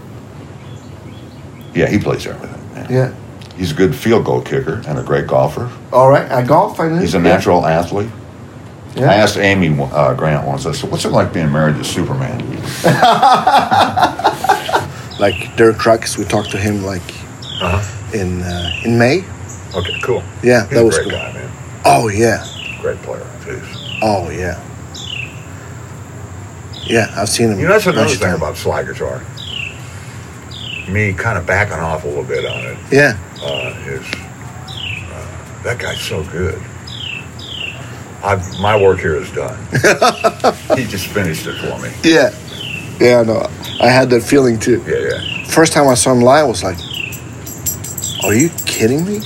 [SPEAKER 2] Yeah, he plays everything. man.
[SPEAKER 1] Yeah.
[SPEAKER 2] He's a good field goal kicker and a great golfer.
[SPEAKER 1] All right, I golf. I knew.
[SPEAKER 2] He's a natural athlete. I asked Amy uh, Grant once. I said, "What's it like being married to Superman?"
[SPEAKER 1] Like Dirk Trucks, we talked to him like
[SPEAKER 2] Uh-huh.
[SPEAKER 1] in uh, in May.
[SPEAKER 2] Okay, cool.
[SPEAKER 1] Yeah, that was cool.
[SPEAKER 2] guy, man.
[SPEAKER 1] Oh yeah,
[SPEAKER 2] Great player. Jeez.
[SPEAKER 1] oh yeah, yeah. I've seen him.
[SPEAKER 3] You know, that's another
[SPEAKER 1] bunch of
[SPEAKER 3] thing
[SPEAKER 1] times.
[SPEAKER 3] about slide guitar. Me kind of backing off a little bit on it
[SPEAKER 1] Yeah,
[SPEAKER 3] uh, is uh, that guy's so good. I've, my work here is done.
[SPEAKER 2] He just finished it for me.
[SPEAKER 1] yeah, yeah. No, I had that feeling too.
[SPEAKER 3] Yeah, yeah.
[SPEAKER 1] First time I saw him live, I was like, "Are you kidding me?"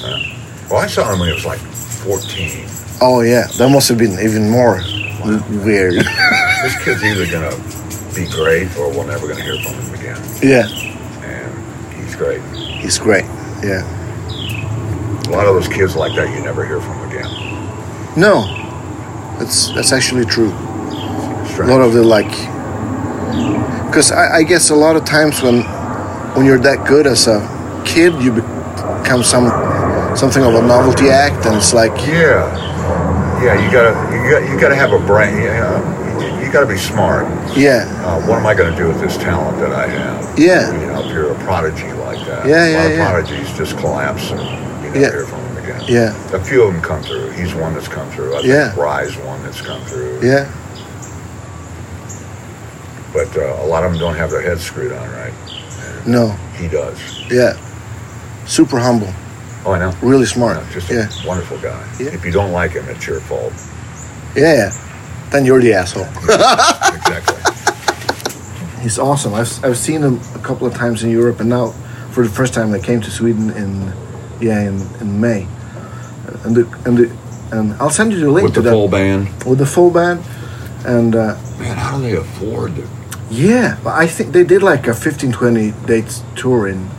[SPEAKER 3] Well, I saw him when he was like 14.
[SPEAKER 1] Oh yeah, that must have been even more weird.
[SPEAKER 3] This kid's either gonna be great or we're never gonna hear from him again.
[SPEAKER 1] yeah,
[SPEAKER 3] And he's great.
[SPEAKER 1] he's great. Yeah.
[SPEAKER 3] A lot of those kids like that you never hear from again.
[SPEAKER 1] No, that's that's actually true. A
[SPEAKER 3] Strange.
[SPEAKER 1] lot of the like, because I, I guess a lot of times when when you're that good as a kid, you become some something of a novelty act, and it's like
[SPEAKER 3] yeah, yeah. You gotta you gotta, you gotta have a brain. Yeah, you, you gotta be smart.
[SPEAKER 1] yeah,
[SPEAKER 3] Uh, what am I gonna do with this talent that I have?
[SPEAKER 1] Yeah.
[SPEAKER 3] You know, if you're a prodigy like that.
[SPEAKER 1] Yeah,
[SPEAKER 3] a
[SPEAKER 1] yeah,
[SPEAKER 3] lot
[SPEAKER 1] yeah.
[SPEAKER 3] of prodigies just collapse and you never
[SPEAKER 1] Yeah.
[SPEAKER 3] hear from them again.
[SPEAKER 1] yeah,
[SPEAKER 3] A few of them come through. He's one that's come through. I
[SPEAKER 1] Yeah.
[SPEAKER 3] think Rye's one that's come through.
[SPEAKER 1] yeah,
[SPEAKER 3] But uh, a lot of them don't have their heads screwed on right.
[SPEAKER 1] no,
[SPEAKER 3] He does.
[SPEAKER 1] yeah, super humble,
[SPEAKER 3] Oh, I know.
[SPEAKER 1] really smart.
[SPEAKER 3] Yeah, just a
[SPEAKER 1] Yeah,
[SPEAKER 3] wonderful guy.
[SPEAKER 1] Yeah.
[SPEAKER 3] If you don't like him, it's your fault.
[SPEAKER 1] yeah, yeah. Then you're the asshole.
[SPEAKER 3] Exactly.
[SPEAKER 1] He's awesome. I've, I've seen him a couple of times in Europe, and now for the first time I came to Sweden in yeah in, in May, and the, and the, and I'll send you the link
[SPEAKER 2] With
[SPEAKER 1] to
[SPEAKER 2] the
[SPEAKER 1] that
[SPEAKER 2] full band.
[SPEAKER 1] with the full band, and uh,
[SPEAKER 2] Man, how do they afford to
[SPEAKER 1] yeah, but I think they did like a 15, 20 dates tour in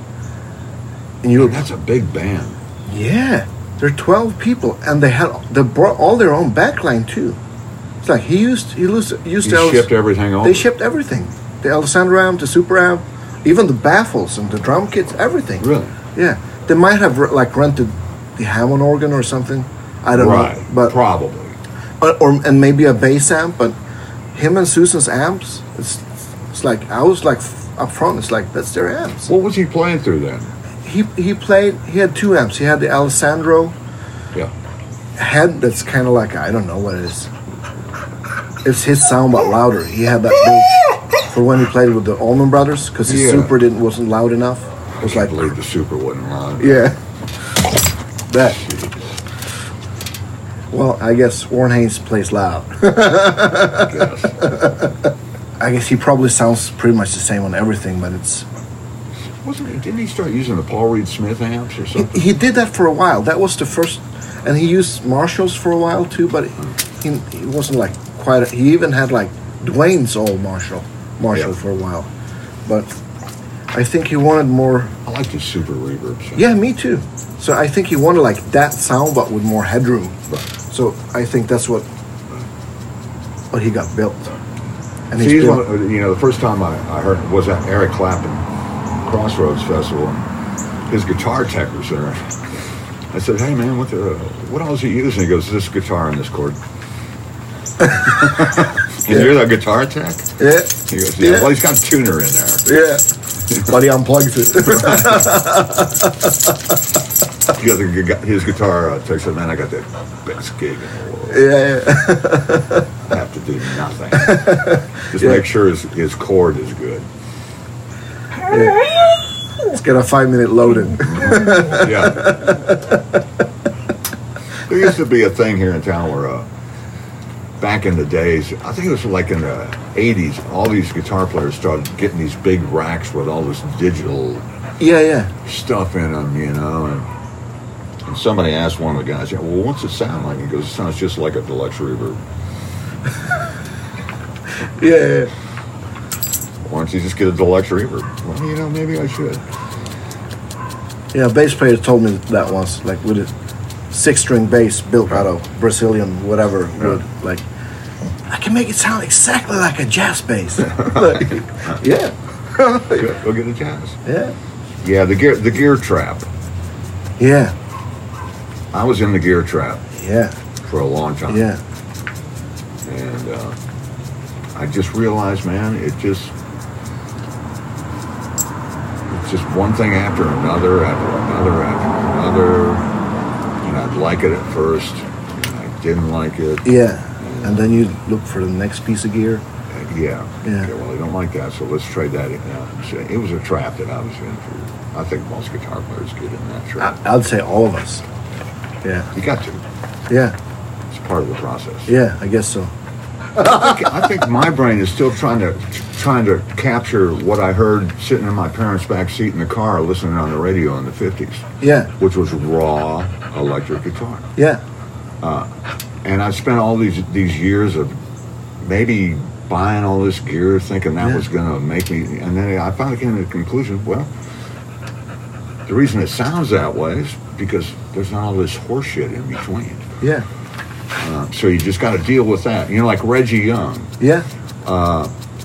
[SPEAKER 1] in Europe.
[SPEAKER 2] That's a big band.
[SPEAKER 1] Yeah, there are twelve people, and they had they brought all their own backline too. It's like he used he used used
[SPEAKER 2] You
[SPEAKER 1] to
[SPEAKER 2] shipped everything over.
[SPEAKER 1] They shipped everything. The Alessandro amp, the Super amp, even the baffles and the drum kits, everything.
[SPEAKER 2] Really?
[SPEAKER 1] Yeah. They might have re- like rented the Hammond organ or something. I don't
[SPEAKER 2] right.
[SPEAKER 1] know. But
[SPEAKER 2] probably.
[SPEAKER 1] or, or and maybe a bass amp, but him and Susan's amps, it's it's like I was like f- up front, it's like that's their amps.
[SPEAKER 2] What was he playing through then?
[SPEAKER 1] He he played he had two amps. He had the Alessandro
[SPEAKER 2] Yeah.
[SPEAKER 1] head that's kinda like I don't know what it is. It's his sound but louder. He had that big for when he played with the Allman Brothers because his
[SPEAKER 2] Yeah.
[SPEAKER 1] super didn't wasn't loud enough. It
[SPEAKER 2] I
[SPEAKER 1] was
[SPEAKER 2] can't
[SPEAKER 1] like
[SPEAKER 2] believe the super wasn't loud.
[SPEAKER 1] yeah, that. Well, I guess Warren Haynes plays loud.
[SPEAKER 2] I guess.
[SPEAKER 1] I guess he probably sounds pretty much the same on everything, but it's
[SPEAKER 2] Wasn't he? Didn't he start using the Paul Reed Smith amps or
[SPEAKER 1] he,
[SPEAKER 2] something?
[SPEAKER 1] he did that for a while. That was the first, and he used Marshalls for a while too, but he, he wasn't like quite. A, he even had like Dwayne's old Marshall Marshall
[SPEAKER 2] Yeah.
[SPEAKER 1] for a while, but I think he wanted more.
[SPEAKER 2] I like the super reverb. Sound.
[SPEAKER 1] Yeah, me too. So I think he wanted like that sound, but with more headroom. So I think that's what what he got built. And
[SPEAKER 2] See,
[SPEAKER 1] he's
[SPEAKER 2] he's
[SPEAKER 1] built-
[SPEAKER 2] one of- you know, the first time I, I heard was at Eric Clapton Crossroads Festival, and his guitar tech was there. I said, "Hey, man, what the, what all is he using?" He goes, "This guitar and this chord." and you're the guitar tech.
[SPEAKER 1] yeah,
[SPEAKER 2] He goes, "Yeah,
[SPEAKER 1] Yeah.
[SPEAKER 2] well, he's got a tuner in there."
[SPEAKER 1] yeah. but he unplugs it.
[SPEAKER 2] The other, gu- his guitar uh, tech said, "Man, I got the best gig in the world.
[SPEAKER 1] yeah,
[SPEAKER 2] I have to do nothing. Just make sure his, his chord is good."
[SPEAKER 1] it's got a five minute loading.
[SPEAKER 2] yeah. There used to be a thing here in town where, uh, back in the days, I think it was like in the 80s, all these guitar players started getting these big racks with all this digital
[SPEAKER 1] Yeah, yeah,
[SPEAKER 2] stuff in them, you know. And, and somebody asked one of the guys, yeah, well, what's it sound like? He goes, it sounds just like a deluxe reverb.
[SPEAKER 1] yeah,
[SPEAKER 2] Why don't you just get a deluxe reverb? Well, you know, maybe I should.
[SPEAKER 1] yeah. Yeah, a bass player told me that once, like with a six string bass built out of Brazilian whatever wood, like. I can make it sound exactly like a jazz bass. Like, yeah,
[SPEAKER 2] Go go get a jazz.
[SPEAKER 1] yeah,
[SPEAKER 2] Yeah, the gear, the gear trap.
[SPEAKER 1] Yeah,
[SPEAKER 2] I was in the gear trap
[SPEAKER 1] yeah,
[SPEAKER 2] for a long time.
[SPEAKER 1] yeah.
[SPEAKER 2] And uh, I just realized, man, it just it's just one thing after another, after another, after another. And I'd like it at first, and I didn't like it.
[SPEAKER 1] Yeah, and then you look for the next piece of gear.
[SPEAKER 2] Uh, yeah.
[SPEAKER 1] Yeah.
[SPEAKER 2] Okay, well, they don't like that, so let's trade that in. Uh, so It was a trap that I was in for. I think most guitar players get in that trap.
[SPEAKER 1] I, I'd say all of us. Yeah,
[SPEAKER 2] You got to.
[SPEAKER 1] yeah,
[SPEAKER 2] It's part of the process.
[SPEAKER 1] yeah. I guess so.
[SPEAKER 2] I think- I think my brain is still trying to trying to capture what I heard sitting in my parents' back seat in the car listening on the radio in the fifties,
[SPEAKER 1] Yeah,
[SPEAKER 2] which was raw electric guitar.
[SPEAKER 1] yeah,
[SPEAKER 2] And I spent all these these years of maybe buying all this gear, thinking that
[SPEAKER 1] Yeah.
[SPEAKER 2] was going to make me. And then I finally came to the conclusion: well, the reason it sounds that way is because there's not all this horseshit in between.
[SPEAKER 1] yeah,
[SPEAKER 2] Uh, so you just got to deal with that. You know, like Reggie Young.
[SPEAKER 1] yeah,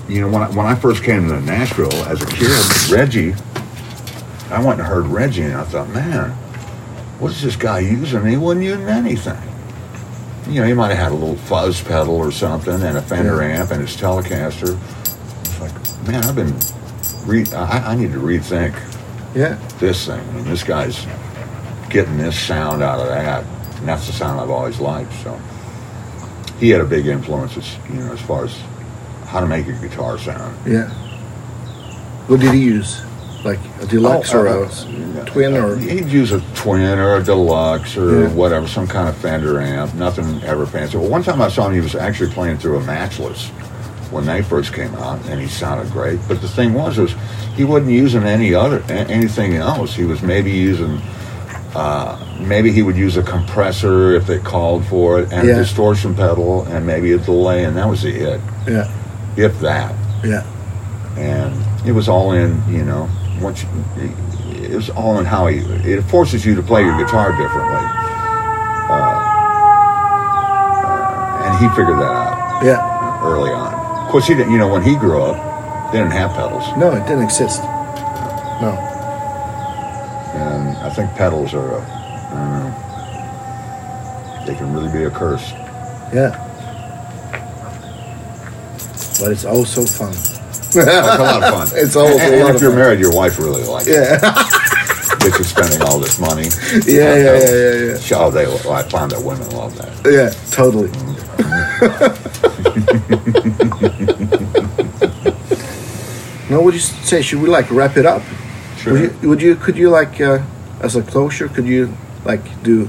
[SPEAKER 2] you know, when I, when I first came to Nashville as a kid, Reggie, I went and heard Reggie, and I thought, man, what's this guy using? He wasn't using anything. You know, he might have had a little fuzz pedal or something, and a Fender amp, and his Telecaster. It's like, man, I've been, re- I, I need to rethink
[SPEAKER 1] yeah,
[SPEAKER 2] this thing. I mean, this guy's getting this sound out of that, and that's the sound I've always liked. So he had a big influence, as, you know, as far as how to make a guitar sound.
[SPEAKER 1] yeah. What did he use? Like a deluxe or a
[SPEAKER 2] uh,
[SPEAKER 1] twin
[SPEAKER 2] uh,
[SPEAKER 1] or?
[SPEAKER 2] he'd use a twin or a deluxe or
[SPEAKER 1] Yeah.
[SPEAKER 2] whatever, some kind of Fender amp. Nothing ever fancy. Well, one time I saw him, he was actually playing through a matchless when they first came out, and he sounded great. But the thing was, was he wasn't using any other a- anything else. He was maybe using. Uh, maybe he would use a compressor if they called for it, and
[SPEAKER 1] Yeah.
[SPEAKER 2] a distortion pedal, and maybe a delay, and that was it,
[SPEAKER 1] Yeah,
[SPEAKER 2] if that
[SPEAKER 1] yeah,
[SPEAKER 2] and it was all in you know once you, it was all in how you it forces you to play your guitar differently uh, uh, and he figured that
[SPEAKER 1] yeah.
[SPEAKER 2] out early on of course he didn't you know when he grew up they didn't have pedals
[SPEAKER 1] No, it didn't exist. No.
[SPEAKER 2] and i think pedals are a, I don't know, they can really be a curse
[SPEAKER 1] Yeah. But it's also fun.
[SPEAKER 2] it's a lot of fun
[SPEAKER 1] It's always a
[SPEAKER 2] and, and
[SPEAKER 1] lot
[SPEAKER 2] if
[SPEAKER 1] of
[SPEAKER 2] you're
[SPEAKER 1] fun.
[SPEAKER 2] married your wife really likes it
[SPEAKER 1] Yeah,
[SPEAKER 2] that you're spending all this money
[SPEAKER 1] yeah, yeah, yeah, yeah, yeah.
[SPEAKER 2] oh they i find that women love that
[SPEAKER 1] Yeah, totally. now, what do you say? Should we like wrap it up? Would you, would you? Could you like, uh, as a closure, could you like do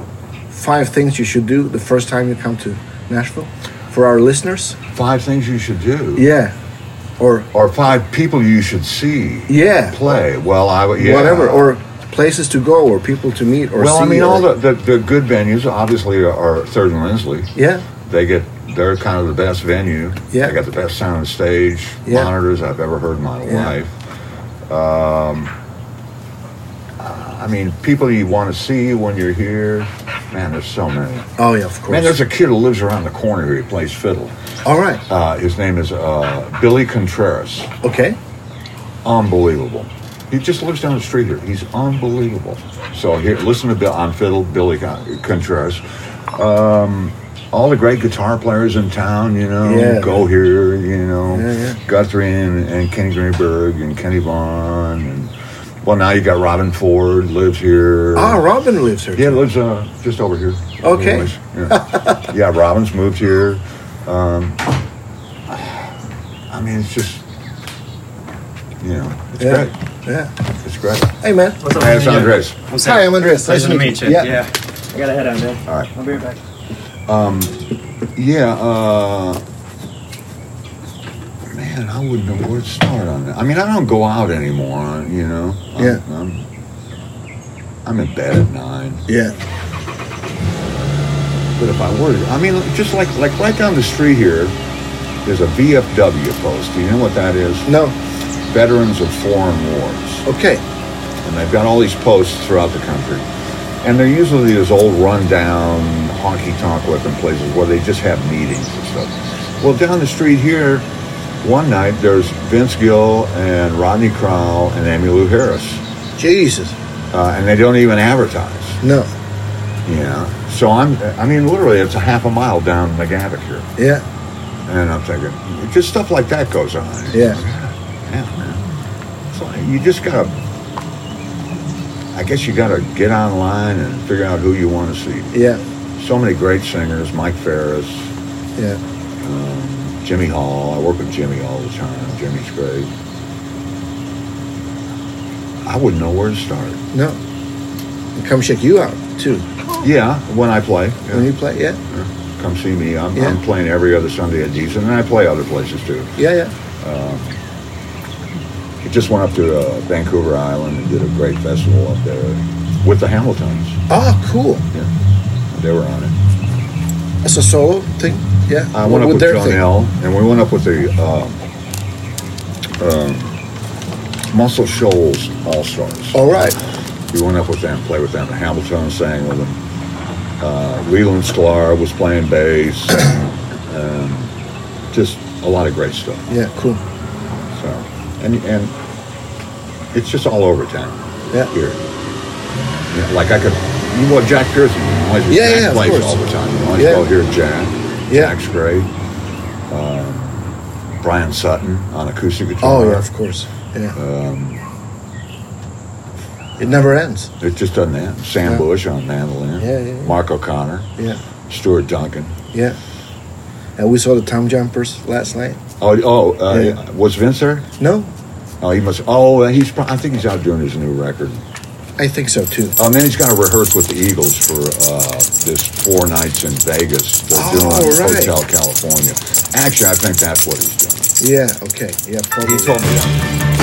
[SPEAKER 1] five things you should do the first time you come to Nashville for our listeners?
[SPEAKER 2] five things you should do
[SPEAKER 1] Yeah, or
[SPEAKER 2] or five people you should see
[SPEAKER 1] yeah,
[SPEAKER 2] play. Well, I would- yeah.
[SPEAKER 1] whatever, or places to go, or people to meet, or
[SPEAKER 2] well, I
[SPEAKER 1] see,
[SPEAKER 2] mean,
[SPEAKER 1] or-
[SPEAKER 2] all the, the the good venues obviously are, are Third and Lindsley.
[SPEAKER 1] yeah,
[SPEAKER 2] They get they're kind of the best venue.
[SPEAKER 1] Yeah.
[SPEAKER 2] they got the best sound and stage
[SPEAKER 1] Yeah.
[SPEAKER 2] monitors I've ever heard in my
[SPEAKER 1] Yeah.
[SPEAKER 2] life. Um, I mean, people you want to see when you're here. Man, there's so many.
[SPEAKER 1] oh yeah, of course.
[SPEAKER 2] Man, there's a kid who lives around the corner here. He plays fiddle.
[SPEAKER 1] all right,
[SPEAKER 2] Uh, his name is uh, Billy Contreras.
[SPEAKER 1] okay,
[SPEAKER 2] unbelievable. He just lives down the street here. He's unbelievable. So here, listen to Bill on fiddle, Billy Con- Contreras. Um, all the great guitar players in town, you know,
[SPEAKER 1] Yeah.
[SPEAKER 2] go here, you know,
[SPEAKER 1] Yeah, yeah.
[SPEAKER 2] Guthrie and, and Kenny Greenberg and Kenny Vaughn, and well, now you got Robin Ford lives here.
[SPEAKER 1] ah, Robin lives here.
[SPEAKER 2] Yeah, lives uh, just over here.
[SPEAKER 1] Okay.
[SPEAKER 2] Anyways, Yeah. yeah, Robin's moved here. Um, I mean, it's just, you know, it's
[SPEAKER 1] Yeah.
[SPEAKER 2] great.
[SPEAKER 1] yeah.
[SPEAKER 2] It's great.
[SPEAKER 1] Hey man.
[SPEAKER 4] What's up,
[SPEAKER 2] Hey,
[SPEAKER 4] man?
[SPEAKER 2] it's Andres.
[SPEAKER 4] What's up?
[SPEAKER 1] Hi, I'm Andres.
[SPEAKER 4] Nice to meet you. Yeah.
[SPEAKER 1] Yeah.
[SPEAKER 4] I gotta head on, man.
[SPEAKER 2] All right.
[SPEAKER 4] I'll be right back.
[SPEAKER 2] Yeah, uh, man, I wouldn't know where to start on that. I mean, I don't go out anymore, you know? I'm-
[SPEAKER 1] Yeah.
[SPEAKER 2] I'm, I'm in bed at nine.
[SPEAKER 1] Yeah.
[SPEAKER 2] But if I were, I mean, just like, like right down the street here, there's a VFW post. Do you know what that is?
[SPEAKER 1] No.
[SPEAKER 2] Veterans of Foreign Wars.
[SPEAKER 1] Okay.
[SPEAKER 2] and they've got all these posts throughout the country. And they're usually these old rundown honky tonk weapon places where they just have meetings and stuff. Well, down the street here, one night there's Vince Gill and Rodney Crowell and Amy Lou Harris,
[SPEAKER 1] Jesus.
[SPEAKER 2] uh, and they don't even advertise.
[SPEAKER 1] No.
[SPEAKER 2] Yeah. So I'm, I mean, literally, it's a half a mile down McGavick here.
[SPEAKER 1] Yeah.
[SPEAKER 2] And I'm thinking, just stuff like that goes on.
[SPEAKER 1] Yeah.
[SPEAKER 2] Yeah, man. It's like, you just gotta, I guess you gotta get online and figure out who you wanna see.
[SPEAKER 1] Yeah.
[SPEAKER 2] So many great singers, Mike Ferris,
[SPEAKER 1] Yeah.
[SPEAKER 2] um, Jimmy Hall. I work with Jimmy all the time. Jimmy's great. I wouldn't know where to start.
[SPEAKER 1] No. And come check you out too
[SPEAKER 2] Yeah, when I play.
[SPEAKER 1] when you play. Yeah.
[SPEAKER 2] Come see me. I'm,
[SPEAKER 1] Yeah.
[SPEAKER 2] I'm playing every other Sunday at Deason, and I play other places too.
[SPEAKER 1] Yeah. Yeah.
[SPEAKER 2] I just went up to uh, Vancouver Island and did a great festival up there with the Hamiltons.
[SPEAKER 1] Oh, cool.
[SPEAKER 2] They were on it.
[SPEAKER 1] It's a solo thing. Yeah.
[SPEAKER 2] I went up with
[SPEAKER 1] their
[SPEAKER 2] John
[SPEAKER 1] thing.
[SPEAKER 2] L. and we went up with the uh, um, Muscle Shoals All Stars.
[SPEAKER 1] All right.
[SPEAKER 2] We went up with them, played with them. Hamilton sang with them. Uh, Leland Sklar was playing bass. um, just a lot of great stuff.
[SPEAKER 1] Yeah. Cool.
[SPEAKER 2] So, and and it's just all over town.
[SPEAKER 1] Yeah.
[SPEAKER 2] Here. Yeah, like I could, you know, Jack Pearson. You know, he's-
[SPEAKER 1] Yeah,
[SPEAKER 2] Jack
[SPEAKER 1] yeah, of
[SPEAKER 2] plays
[SPEAKER 1] course.
[SPEAKER 2] all the time. You know, I
[SPEAKER 1] Yeah.
[SPEAKER 2] go hear Jack.
[SPEAKER 1] Yeah.
[SPEAKER 2] Jack's great. Um, Brian Sutton on acoustic guitar.
[SPEAKER 1] Oh yeah, of course. Yeah.
[SPEAKER 2] Um,
[SPEAKER 1] It never ends.
[SPEAKER 2] it just doesn't end. Sam
[SPEAKER 1] Yeah.
[SPEAKER 2] Bush on mandolin.
[SPEAKER 1] Yeah, yeah, yeah.
[SPEAKER 2] Mark O'Connor.
[SPEAKER 1] Yeah.
[SPEAKER 2] Stuart Duncan.
[SPEAKER 1] Yeah. And we saw the Tom Jumpers last night.
[SPEAKER 2] Oh, oh uh,
[SPEAKER 1] Yeah.
[SPEAKER 2] was Vince there?
[SPEAKER 1] No,
[SPEAKER 2] Oh, he must. Oh, he's. pro- I think he's out doing his new record.
[SPEAKER 1] I think so too.
[SPEAKER 2] Oh, and then he's got to rehearse with the Eagles for uh, this four nights in Vegas. They're
[SPEAKER 1] Oh,
[SPEAKER 2] doing
[SPEAKER 1] right.
[SPEAKER 2] Hotel California. Actually, I think that's what he's doing.
[SPEAKER 1] Yeah. Okay. Yeah. Probably.
[SPEAKER 2] He told me that.